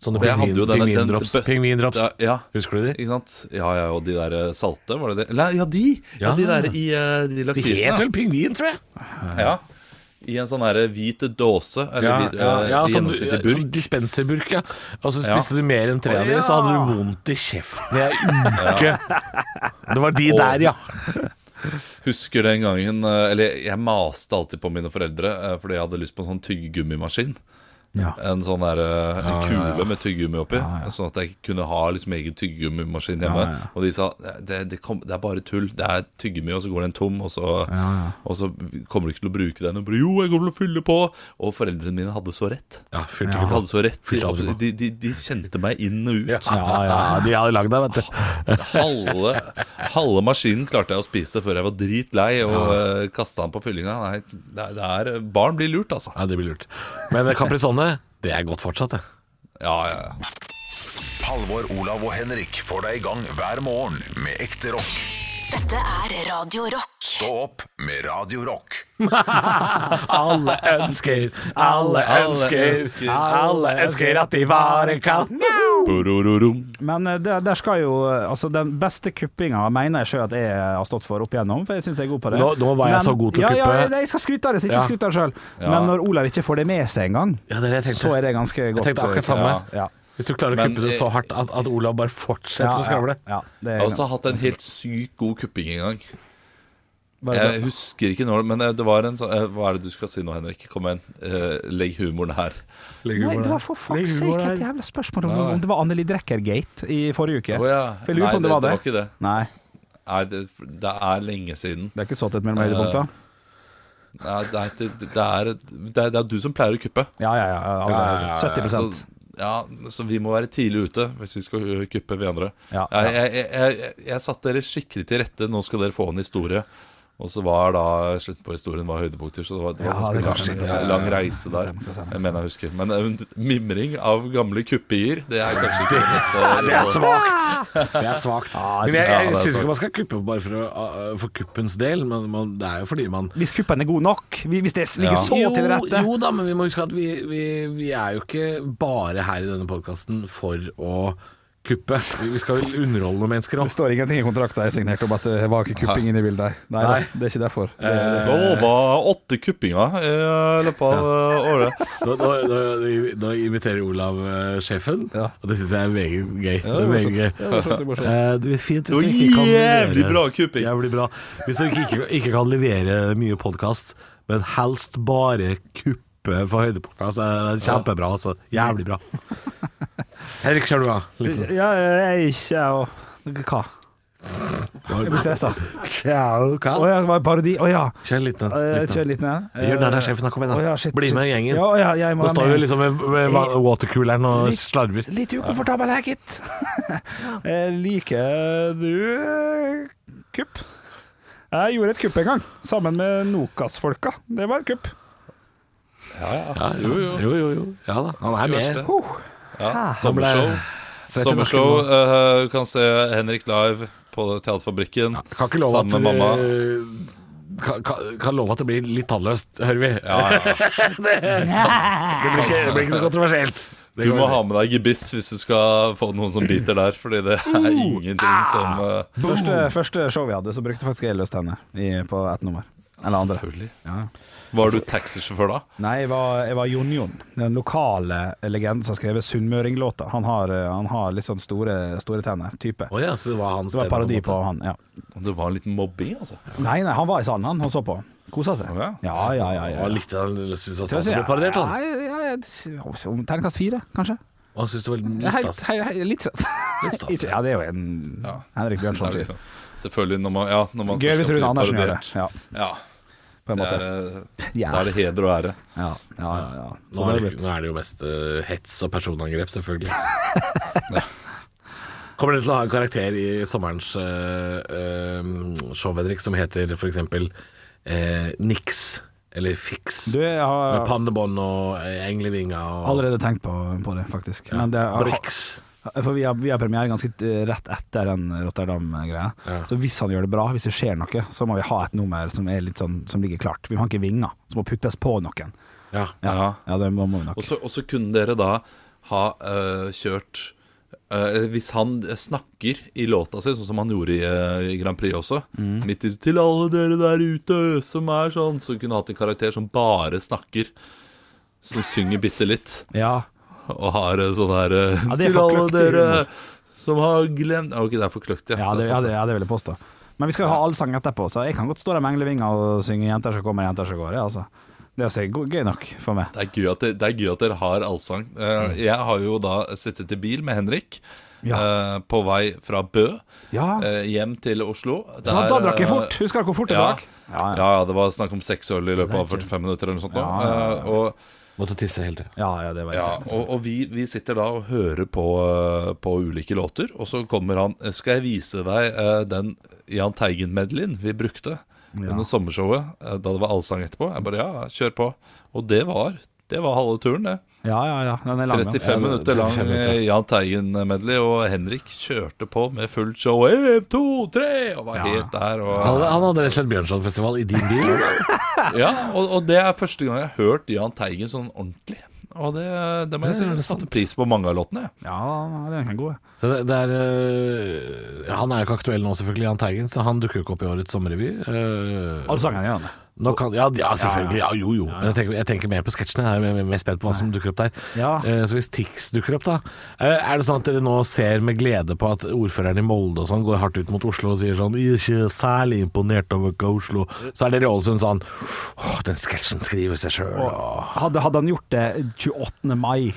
Speaker 3: Sånne
Speaker 4: Og jeg hadde jo denne- den-
Speaker 3: pingvindrops.
Speaker 4: den-
Speaker 3: Pingvindrops.
Speaker 4: Ja, ja.
Speaker 3: Husker du de?
Speaker 4: Ikke sant? Ja, ja, og de der eh, salte, var det det? Eller, ja, de! Ja,
Speaker 3: Ja.
Speaker 4: de der i eh, de
Speaker 3: De het
Speaker 4: lakrisene.
Speaker 3: vel pingvin, tror jeg.
Speaker 4: Ja. I en sånn her hvit dåse, eller
Speaker 3: Ja,
Speaker 4: hvit-
Speaker 3: ja,
Speaker 4: eh,
Speaker 3: ja,
Speaker 4: i
Speaker 3: som,
Speaker 4: gjennomsnittlig
Speaker 3: som
Speaker 4: burk.
Speaker 3: dispenserburk, ja. Og så
Speaker 4: Ja.
Speaker 3: spiste du mer enn tre av dem, så hadde du vondt i kjeften i ei uke. Det var de
Speaker 4: Og-
Speaker 3: der, ja.
Speaker 4: Husker den gangen eh, Eller jeg maste alltid på mine foreldre eh, fordi jeg hadde lyst på en sånn tyggegummimaskin.
Speaker 5: Ja.
Speaker 4: En sånn der, eh, en kule med tyggegummi oppi, sånn at jeg kunne ha liksom egen tyggegummimaskin hjemme. Og de sa det, det, kom, det er bare tull. Det er tyggegummi, og så går den tom, og så, og så kommer du ikke til å bruke den. Og bare, jo, jeg kommer til å fylle på. Og foreldrene mine hadde så rett.
Speaker 3: Ja, fylte
Speaker 4: De hadde så rett.
Speaker 3: Fylte aldri
Speaker 4: De,
Speaker 3: på.
Speaker 4: de, de, de kjente meg inn og ut.
Speaker 3: Ja, ja, de hadde lagd deg, vet du.
Speaker 4: Halve, halve maskinen klarte jeg å spise før jeg var dritlei og ja. kasta den på fyllinga. Nei, det er, det er, barn blir lurt, altså.
Speaker 3: Ja, det blir lurt. Men Caprisonne, det er godt fortsatt, det.
Speaker 4: Ja, ja, ja.
Speaker 1: Halvor, Olav og Henrik får deg i gang hver morgen med ekte rock.
Speaker 2: Dette er Radio Rock.
Speaker 1: Stå opp med Radio Rock.
Speaker 3: Alle ønsker, alle ønsker, alle ønsker at de var en katt.
Speaker 4: Bororom.
Speaker 5: Men eh, der, der skal jo eh, Altså, den beste kuppinga mener jeg sjøl at jeg har stått for opp igjennom, for jeg syns jeg er god på det.
Speaker 3: Nå- nå var jeg så god til å
Speaker 5: ja, Ja,
Speaker 3: kuppe.
Speaker 5: jeg- jeg skal skryte av det, så ikke
Speaker 3: Ja.
Speaker 5: skryte av det sjøl. Men når Olav ikke får det med seg engang,
Speaker 3: Ja, det er det jeg tenkte.
Speaker 5: så er det ganske godt. eh,
Speaker 3: tenkte akkurat samme.
Speaker 5: Ja.
Speaker 3: Hvis du klarer å
Speaker 4: Men-
Speaker 3: kuppe det så hardt at, at Olav bare fortsetter
Speaker 5: Ja,
Speaker 3: å skravle.
Speaker 5: Ja, ja, det
Speaker 4: Jeg
Speaker 5: er
Speaker 4: har også hatt en helt sykt god kupping en gang.
Speaker 5: bare-
Speaker 4: Jeg husker ikke når, men eh, det var en sånn eh, Hva er det du skal si nå, Henrik? Kom igjen. Eh, Legg humoren her.
Speaker 5: Nei, det var for fuck's
Speaker 3: humor
Speaker 5: sake
Speaker 3: der.
Speaker 5: et jævla spørsmål om,
Speaker 4: Nei.
Speaker 5: om det var Anneli Drecker-gate i forrige uke.
Speaker 4: Å ja.
Speaker 5: For jeg lurer
Speaker 4: Nei,
Speaker 5: på om det, var det.
Speaker 4: ikke det.
Speaker 5: Nei,
Speaker 4: Nei, det, det er lenge siden.
Speaker 5: det er ikke så tett mellom høydepunkta.
Speaker 4: Nei, det, er, det, det, er, det, er, det er du som pleier å kuppe.
Speaker 5: Ja, ja, ja. ja, ja, ja, ja 70
Speaker 4: Så, Altså, ja, så vi må være tidlig ute hvis vi skal ø, kuppe vi andre.
Speaker 5: Ja,
Speaker 4: jeg, jeg, jeg, jeg, jeg satte dere skikkelig til rette. Nå skal dere få en historie. Og så var da slutten på historien var høydepunkter, så det var, det var
Speaker 5: det
Speaker 4: ganske
Speaker 5: kan
Speaker 4: lang, lang reise der. Jeg mener jeg husker. Men ø, mimring av gamle kuppier, det er kanskje ikke det beste.
Speaker 3: Det er svakt! Det er svakt. Men jeg,
Speaker 4: Ja, det
Speaker 3: jeg
Speaker 4: er
Speaker 3: syns
Speaker 4: svakt.
Speaker 3: ikke man skal kuppe bare for, å, uh, for kuppens del, men man, det er jo fordi man
Speaker 5: Hvis kuppen er god nok, vi- hvis det ligger så til rette
Speaker 3: Jo, jo da, men vi må huske at vi, vi, vi er jo ikke bare her i denne podkasten for å kuppe. Vi vi skal jo underholde noen mennesker
Speaker 7: Det
Speaker 3: også.
Speaker 7: står ingenting i kontrakten jeg signerte om at det var ikke kupping inne i bildet. her. Nei,
Speaker 3: Nei.
Speaker 7: da, det er ikke
Speaker 5: Eh,
Speaker 7: derfor. Det,
Speaker 4: Det var åtte kuppinger ø, i løpet av ø, året.
Speaker 3: Nå, nå, nå, nå imiterer Olav eh, sjefen, og det syns jeg er meget gøy. Det er meget gøy. Eh, det blir fint hvis
Speaker 4: Det var
Speaker 3: dere ikke kan
Speaker 4: jævlig
Speaker 3: levere-
Speaker 4: bra kupping.
Speaker 3: Jævlig bra. Hvis dere ikke, ikke, ikke kan levere mye podkast, men helst bare kuppe for høydepunktene, så er det kjempebra. Altså. Jævlig bra. Henrik, kjør du, da. Litt.
Speaker 5: Ja, jeg er ikke jeg og- Hva? Jeg blir stressa.
Speaker 3: Kjør, hva?
Speaker 5: Å ja, det var en parodi. Å ja.
Speaker 3: Kjør litt ned.
Speaker 5: Eh,
Speaker 3: litt ned.
Speaker 5: Kjør litt ned. Eh,
Speaker 3: Gjør det der, sjefen. da. Kom igjen,
Speaker 5: å
Speaker 3: da.
Speaker 5: ja, shit,
Speaker 3: Bli
Speaker 5: shit.
Speaker 3: med i gjengen.
Speaker 5: Ja, ja, jeg må
Speaker 3: Nå
Speaker 5: være
Speaker 3: står vi
Speaker 5: med.
Speaker 3: liksom ved, ved va- watercooleren og slarver.
Speaker 5: Litt ukomfortabel her, gitt. Eh, Liker du eh, kupp? Jeg gjorde et kupp en gang, sammen med Nokas-folka. Det var et kupp.
Speaker 3: Ja, jo, jo. jo, jo, jo. Ja da, han er med.
Speaker 4: Ja, sommershow. Sommershow. eh, Du kan se Henrik live på Teaterfabrikken.
Speaker 3: Kan ikke love at
Speaker 4: sammen med mamma.
Speaker 3: eh, Kan, kan, kan love at det blir litt tannløst, hører vi.
Speaker 4: Ja, ja.
Speaker 3: Det, blir ikke, det blir ikke så kontroversielt. Det
Speaker 4: Du
Speaker 3: kan
Speaker 4: må
Speaker 3: vi si.
Speaker 4: ha med deg gebiss hvis du skal få noen som biter der, fordi det
Speaker 5: Uh,
Speaker 4: er ingenting
Speaker 5: ah.
Speaker 4: som eh,
Speaker 5: Første, første show vi hadde, så brukte faktisk jeg løs tenner i- på ett nummer. Eller andre.
Speaker 4: Selvfølgelig. Var du taxisjåfør da?
Speaker 5: Nei, jeg var, jeg var Jon Jon. Den lokale legenden som har skrevet Sunnmøringlåta. Han, har, eh, han har litt sånn store, store tenner. Type.
Speaker 3: Å ja, så det var hans
Speaker 5: Det var
Speaker 3: stemme,
Speaker 5: parodi
Speaker 3: en måte.
Speaker 5: på han. ja
Speaker 4: Det var en liten mobbing, altså.
Speaker 5: Nei, nei, han var i salen, han. Han så på. Kosa seg.
Speaker 4: Ja.
Speaker 5: Ja, ja, ja. ja,
Speaker 3: Og
Speaker 5: ja.
Speaker 3: likte han syntes at han ble parodiert, han.
Speaker 5: Ja, ja, ja, ja. Om Terningkast fire, kanskje?
Speaker 3: Og han syns det var litt
Speaker 5: Helt,
Speaker 3: stas.
Speaker 5: helt, helt, litt søtt.
Speaker 3: Litt stas,
Speaker 5: Ikke-
Speaker 3: ja.
Speaker 5: ja, det er jo en
Speaker 4: Ja.
Speaker 5: Henrik
Speaker 4: Det er
Speaker 5: Bjørnson-fyr.
Speaker 4: liksom- Selvfølgelig når man, ja, når man
Speaker 5: Gøy
Speaker 4: først
Speaker 5: hvis
Speaker 4: skal
Speaker 5: Rune
Speaker 4: bli
Speaker 5: Andersen gjør det.
Speaker 4: parodiert.
Speaker 5: Ja,
Speaker 4: Ja,
Speaker 5: på en
Speaker 4: det er,
Speaker 5: måte.
Speaker 4: eh,
Speaker 5: Ja.
Speaker 4: da er det heder og ære.
Speaker 5: Ja, ja, ja, ja.
Speaker 3: Nå
Speaker 5: Så
Speaker 3: er,
Speaker 5: det
Speaker 3: det,
Speaker 5: er
Speaker 3: nå er det jo mest eh, hets og personangrep, selvfølgelig. Kommer dere til å ha en karakter i sommerens uh, show, Henrik, som heter f.eks. Uh, Nix eller Fix?
Speaker 5: du, jeg
Speaker 3: med
Speaker 5: har
Speaker 3: pannebånd og eh, englevinger og
Speaker 5: allerede tenkt på, på det, faktisk. Men det er,
Speaker 3: Brix.
Speaker 5: For vi har, vi har premiere ganske eh, rett etter den Rotterdam-greia.
Speaker 3: Ja.
Speaker 5: Så hvis han gjør det bra, hvis det skjer noe, så må vi ha et nummer som, er litt sånn, som ligger klart. Vi har ikke vinger, som må puttes på noen.
Speaker 3: Ja.
Speaker 5: Ja, ja.
Speaker 4: Ja.
Speaker 5: det må, må vi
Speaker 4: Og
Speaker 5: nok.
Speaker 4: så, og så kunne dere da ha eh, kjørt eh, Hvis han snakker i låta si, sånn som han gjorde i, eh, i Grand Prix også
Speaker 5: Mm.
Speaker 4: Midt i Til alle dere der ute som er sånn Så kunne hatt en karakter som bare snakker. Som synger bitte litt.
Speaker 5: Ja,
Speaker 4: Og har eh, sånn her eh,
Speaker 5: Ja, det er
Speaker 4: Til alle
Speaker 5: forkløkt
Speaker 4: dere
Speaker 5: humor.
Speaker 4: som har glemt Ok, det er forkløkt, ja.
Speaker 5: ja, det,
Speaker 4: er
Speaker 5: ja,
Speaker 4: sant,
Speaker 5: det, ja, det vil jeg påstå. Men vi skal jo ha allsang etterpå, så jeg kan godt stå der med englevinger og synge 'Jenter som kommer, jenter som går'. Ja, altså. Det er også go- gøy nok for meg.
Speaker 4: Det er gøy at dere, det er gøy at dere har allsang.
Speaker 5: Mm.
Speaker 4: Eh, Jeg har jo da sittet i bil med Henrik
Speaker 5: Ja.
Speaker 4: eh, på vei fra Bø
Speaker 5: Ja.
Speaker 4: eh, hjem til Oslo.
Speaker 5: Da, da
Speaker 4: Der,
Speaker 5: drakk jeg
Speaker 4: eh,
Speaker 5: fort! Husker du hvor fort jeg
Speaker 4: Ja.
Speaker 5: drakk?
Speaker 4: Ja, ja. det var snakk om seks øl i løpet av 45 minutter eller noe sånt. nå. Eh, Og,
Speaker 3: Måtte tisse hele tida.
Speaker 5: Ja, ja, det var
Speaker 4: ja,
Speaker 5: irriterende.
Speaker 4: og, og vi, vi sitter da og hører på, eh, på ulike låter, og så kommer han eh, Skal jeg vise deg eh, den Jahn Teigen-medleyen vi brukte under sommershowet, eh, da det var allsang etterpå? Jeg bare ja, kjør på. Og det var, det var halve turen, det.
Speaker 5: Ja, ja, ja. Den er lang. ja.
Speaker 4: 35 minutter lang
Speaker 3: 35 minutter.
Speaker 4: eh, Jahn Teigen-medley, og Henrik kjørte på med fullt show. En, to, tre! Og var helt der.
Speaker 3: Han,
Speaker 4: Og,
Speaker 3: han hadde rett og slett Bjørnsonfestival i din bil.
Speaker 4: ja, og, og det er første gang jeg har hørt Jahn Teigen sånn ordentlig. Og det, det må jeg si, jeg satte pris på mange av låtene. jeg.
Speaker 5: Ja, den er god.
Speaker 3: Så det, det er, eh, han er jo ikke aktuell nå, selvfølgelig, Jahn Teigen, så han dukker jo ikke opp i årets sommerrevy. Eh,
Speaker 5: Allsangen gjør den.
Speaker 3: Nå kan, ja, ja, selvfølgelig. Ja, jo, jo. Men Jeg, tenker, jeg tenker mer på sketsjene. Jeg er mer- mer spent på hva som dukker opp der.
Speaker 5: Ja.
Speaker 3: Eh, så hvis Tix dukker opp, da eh, Er det sånn at dere nå ser med glede på at ordføreren i Molde og sånn går hardt ut mot Oslo og sier sånn 'Ikke særlig imponert over hva Oslo' Så er dere i Ålesund sånn 'Åh, den sketsjen skriver seg sjøl', og
Speaker 5: Hadde, hadde han gjort det 28. mai,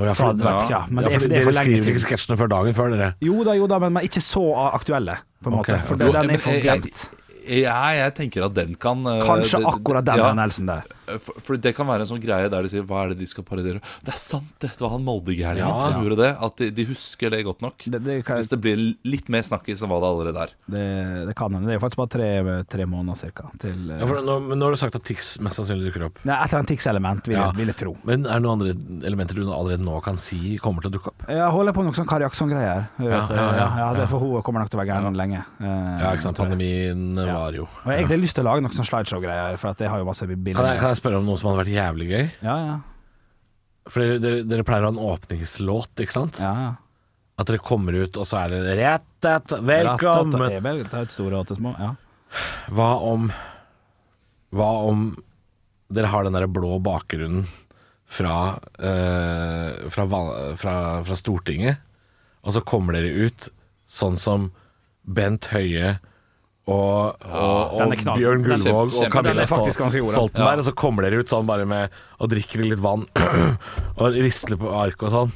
Speaker 3: Å, ja,
Speaker 5: så
Speaker 3: for-
Speaker 5: hadde det vært ja. Men
Speaker 3: ja,
Speaker 5: det,
Speaker 3: for
Speaker 5: er- det er
Speaker 3: Dere
Speaker 5: for lenge
Speaker 3: skriver ikke
Speaker 5: siden.
Speaker 3: sketsjene før dagen før, dere.
Speaker 5: Jo da, jo da, men, men ikke så aktuelle, på en
Speaker 3: Ok,
Speaker 5: måte. For
Speaker 3: ok.
Speaker 5: det, den
Speaker 4: Men
Speaker 5: er
Speaker 3: eh,
Speaker 5: for
Speaker 4: jeg- jeg-
Speaker 5: glemt.
Speaker 4: Ja, jeg tenker at den kan eh,
Speaker 5: Kanskje
Speaker 4: det-
Speaker 5: akkurat den
Speaker 4: ja,
Speaker 5: hendelsen der.
Speaker 4: For, for det kan være en sånn greie der de sier Hva er det de skal parodiere? Det er sant, det! Det var han Molde-gærningen
Speaker 3: Ja.
Speaker 4: som gjorde det. At de, de husker det godt nok.
Speaker 5: Det, det, kan,
Speaker 4: Hvis det blir litt mer snakkis enn hva det allerede er.
Speaker 5: det, det kan hende. Det er jo faktisk bare tre, tre måneder cirka til eh,
Speaker 3: Ja, for nå, men nå har du sagt at Tix mest sannsynlig dukker opp.
Speaker 5: Nei, et eller annet Tix-element, vil, jeg-
Speaker 3: Ja.
Speaker 5: vil jeg tro.
Speaker 3: Men er det noen andre elementer du allerede nå kan si kommer til å dukke opp?
Speaker 5: Jeg holder på med noe sånn Kari Jackson-greier. Ja, ja,
Speaker 3: Ja, ja, ja,
Speaker 5: det er for hun kommer nok til å være gæren lenge. eh,
Speaker 3: Ja, ikke sant.
Speaker 5: tror jeg.
Speaker 3: Pandemien
Speaker 5: Ja.
Speaker 3: var jo
Speaker 5: Og jeg har egentlig lyst til å lage noe sånn slideshow-greier, for at jeg har jo masse
Speaker 3: Kan jeg,
Speaker 5: bilder.
Speaker 3: kan jeg spørre om noe som hadde vært jævlig gøy?
Speaker 5: Ja, ja,
Speaker 3: For dere, dere, dere pleier å ha en åpningslåt, ikke sant?
Speaker 5: ja, ja.
Speaker 3: At dere kommer ut, og så er det Rettet,
Speaker 5: Det
Speaker 3: velkommen!
Speaker 5: er vel ta ut store og til små. Ja.
Speaker 3: Hva om Hva om dere har den der blå bakgrunnen fra, eh, fra, val- fra, fra Stortinget, og så kommer dere ut sånn som Bent Høie og, og,
Speaker 5: den
Speaker 3: og
Speaker 5: er knall-
Speaker 3: Bjørn
Speaker 5: den er
Speaker 3: Gullvåg og
Speaker 4: kjempe-
Speaker 3: Camilla
Speaker 5: den er faktisk ganske god, da.
Speaker 3: Stoltenberg, og så kommer dere ut sånn bare med og drikker litt vann og rister på arket og sånn.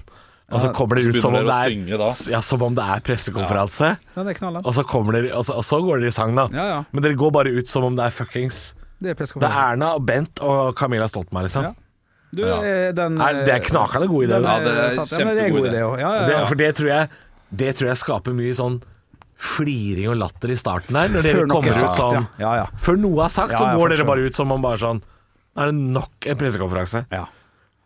Speaker 3: Og så kommer dere
Speaker 4: så
Speaker 3: ut som om,
Speaker 4: begynner
Speaker 3: det
Speaker 4: dere å
Speaker 3: er,
Speaker 4: synge da.
Speaker 3: ja, som om det er pressekonferanse.
Speaker 5: Ja, det er knallen.
Speaker 3: Og så, kommer dere, og, så, og så går dere i sang, da.
Speaker 5: Ja, ja.
Speaker 3: Men dere går bare ut som om det er fuckings
Speaker 5: Det er
Speaker 3: Det er
Speaker 5: pressekonferanse.
Speaker 3: Erna og Bent og Camilla Stoltenberg, liksom.
Speaker 5: Ja. Du, eh, den
Speaker 3: Er, det er knakende god idé.
Speaker 5: den eh,
Speaker 3: da.
Speaker 4: Ja, det er
Speaker 5: satt- ja, men det er en
Speaker 4: kjempegod idé.
Speaker 5: god idé òg. Ja, ja,
Speaker 3: Det,
Speaker 5: ja.
Speaker 3: for det tror, jeg, det tror jeg skaper mye sånn fliring og latter i starten her. Når
Speaker 5: Før
Speaker 3: dere
Speaker 5: noe
Speaker 3: kommer
Speaker 5: er
Speaker 3: ut
Speaker 5: sagt,
Speaker 3: sånn
Speaker 5: ja. Ja, ja.
Speaker 3: Før noe er sagt,
Speaker 5: Ja,
Speaker 3: så
Speaker 5: ja, for
Speaker 3: går dere
Speaker 5: sure.
Speaker 3: bare ut som om bare sånn Er det nok en pressekonferanse?
Speaker 5: Ja.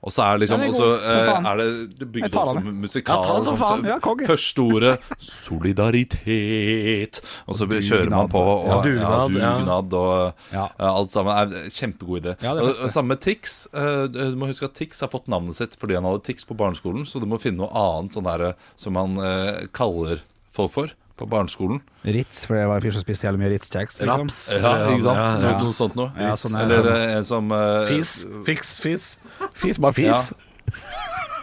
Speaker 4: Og så er det liksom
Speaker 5: Ja, det
Speaker 4: Og
Speaker 5: er
Speaker 4: så
Speaker 5: god. For
Speaker 4: eh,
Speaker 5: faen.
Speaker 4: er det, det
Speaker 5: Jeg
Speaker 4: bygd
Speaker 5: tar
Speaker 4: opp
Speaker 5: det.
Speaker 4: som musikal.
Speaker 3: Ja, ta det som
Speaker 4: og sånt.
Speaker 5: faen. Ja, konge.
Speaker 4: Første ordet solidaritet. Og så kjører man på. Og,
Speaker 3: Ja, dugnad,
Speaker 4: ja,
Speaker 3: ja.
Speaker 4: dugnad og
Speaker 5: Ja.
Speaker 4: eh, alt sammen. Er, kjempegod idé.
Speaker 5: Ja,
Speaker 4: og,
Speaker 5: det er faktisk det.
Speaker 4: og samme med Tix. eh, du må huske at Tix har fått navnet sitt fordi han hadde Tix på barneskolen, så du må finne noe annet sånn der, eh, som han eh, kaller folk for på barneskolen.
Speaker 5: Ritz, for det var en fyr som spiste jævlig mye Ritz-kjeks. liksom.
Speaker 3: Raps?
Speaker 4: Ja, ikke sant?
Speaker 3: Ja,
Speaker 4: Noe,
Speaker 3: ja.
Speaker 4: noe sånt noe.
Speaker 5: Ja, sånn er det.
Speaker 4: Eller eh, en som eh,
Speaker 3: Fis. Fiks, fis. Fis, bare fis.
Speaker 4: Ja.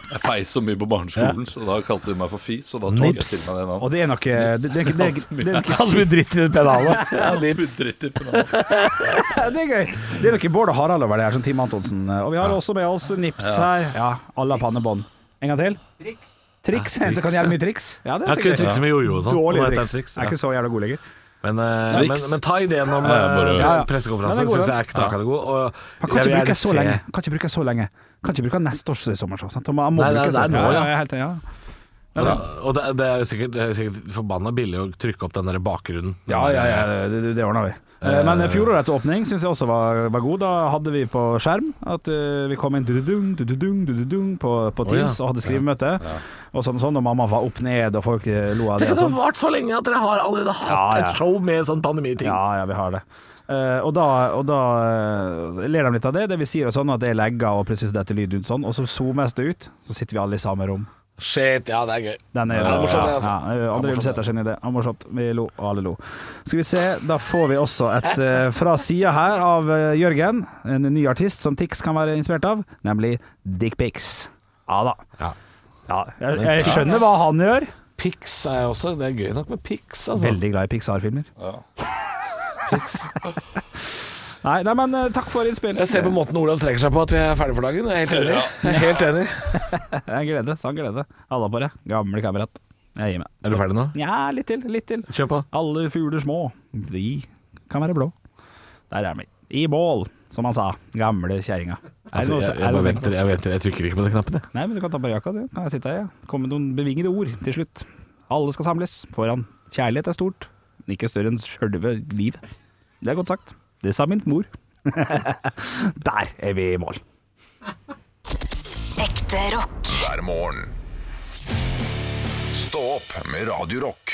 Speaker 4: Jeg feis så mye på barneskolen, så da kalte de meg for fis. Og da tok jeg
Speaker 5: Nips.
Speaker 4: til meg det
Speaker 5: Og
Speaker 4: navnet.
Speaker 5: det er nok eh, det, det, er ikke- det, er ikke- det, er ikke-
Speaker 3: Han som blir dritt i pennalet.
Speaker 4: Dritt i pennalet.
Speaker 5: det er gøy. eh, Det er nok Bård og Harald over det her, som Team Antonsen. Og vi har også med oss Nips her. Ja, alle har pannebånd. En gang til.
Speaker 6: Triks.
Speaker 5: Triks.
Speaker 3: Ja,
Speaker 5: En som kan
Speaker 3: triks,
Speaker 5: gjøre
Speaker 3: ja.
Speaker 5: mye triks. Ja, det
Speaker 3: Jeg
Speaker 5: er
Speaker 3: kunne
Speaker 5: sikkert
Speaker 3: trikse med jojo og sånn.
Speaker 5: Dårlig
Speaker 3: Og dette er
Speaker 5: triks.
Speaker 3: triks, ja.
Speaker 5: Er ikke så jævla god lenger.
Speaker 3: Men, eh,
Speaker 4: Swix.
Speaker 3: men, men ta ideen om
Speaker 4: Ja, bare-
Speaker 3: eh,
Speaker 4: Ja,
Speaker 5: ja. Den
Speaker 3: pressekonferansen
Speaker 5: er god,
Speaker 3: syns
Speaker 5: den.
Speaker 3: jeg er knakende god. Og
Speaker 5: Han kan
Speaker 3: jeg vil
Speaker 5: ikke
Speaker 3: gjerne
Speaker 5: bruke så
Speaker 3: se-
Speaker 5: lenge. Kan ikke bruke så lenge. Kan ikke bruke neste års sommer. så, Sant? Han må- Han må
Speaker 3: Nei, nei,
Speaker 5: bruke
Speaker 3: det er
Speaker 5: så-
Speaker 3: nå, ja.
Speaker 5: jeg er helt enig, ja.
Speaker 3: Ja, og det, det er jo sikkert, det er sikkert forbanna billig å trykke opp den der bakgrunnen.
Speaker 5: Ja, ja, ja det, det- det ordna vi. Eh, Men fjorårets åpning syns jeg også var, var god. Da hadde vi på skjerm at eh, vi kom inn dududung, dududung, dududung på, på
Speaker 3: Å, ja.
Speaker 5: Teams og hadde skrivemøte. Og sånn, sånn, og mamma var opp ned, og folk eh, lo av det.
Speaker 3: Tenk at det
Speaker 5: Og
Speaker 3: har
Speaker 5: sånn.
Speaker 3: vart så lenge at dere har allerede hatt
Speaker 5: Ja, ja.
Speaker 3: et show med sånn pandemiting.
Speaker 5: Ja, ja, vi har det. Eh, og da, og da eh, ler de litt av det. Det vi sier og sånn at det er legger, og plutselig så detter lyd ut sånn. Og så zoomes det ut, så sitter vi alle i samme rom.
Speaker 3: Shit, ja, det er gøy.
Speaker 5: Den er,
Speaker 3: Ja, det er morsomt, det, altså.
Speaker 5: ja, ja, Andre vil sette sin idé. Ja, morsomt. Vi lo, og alle lo. Skal vi se, da får vi også et eh, fra sida her av eh, Jørgen, en ny artist som Tix kan være inspirert av, nemlig Dickpics. Ja da.
Speaker 3: Ja.
Speaker 5: Ja, jeg, jeg skjønner hva han gjør.
Speaker 3: Pix er jeg også. Det er gøy nok med Pix, altså.
Speaker 5: Veldig glad i Pixar-filmer. Nei, nei, men eh, takk for innspill.
Speaker 3: Jeg ser på måten Olav strekker seg på at vi er ferdige for dagen. Jeg er helt enig. Jeg er, helt enig.
Speaker 5: En glede. Sann glede. Alle på det. Gamle kamerat. Jeg gir meg.
Speaker 3: er du ferdig nå?
Speaker 5: Nja, litt til. Litt til.
Speaker 3: Kjør på.
Speaker 5: Alle fugler små, de kan være blå. Der er vi. I bål, som han sa. Gamle kjerringa. Er det
Speaker 3: Altså,
Speaker 5: noe-
Speaker 3: jeg,
Speaker 5: er
Speaker 3: jeg
Speaker 5: det
Speaker 3: bare
Speaker 5: noe å tenke på?
Speaker 3: venter. Jeg venter, jeg trykker ikke på den knappen. Jeg.
Speaker 5: Nei, men du kan ta på jakka, du. Kan jeg sitte her, ja. Komme med noen bevingede ord til slutt. Alle skal samles foran. Kjærlighet er stort, men ikke større enn sjølve livet. Det er godt sagt. Det sa min mor. Der er vi i mål.
Speaker 2: Ekte rock.
Speaker 1: hver morgen. Stå opp med Radio Rock.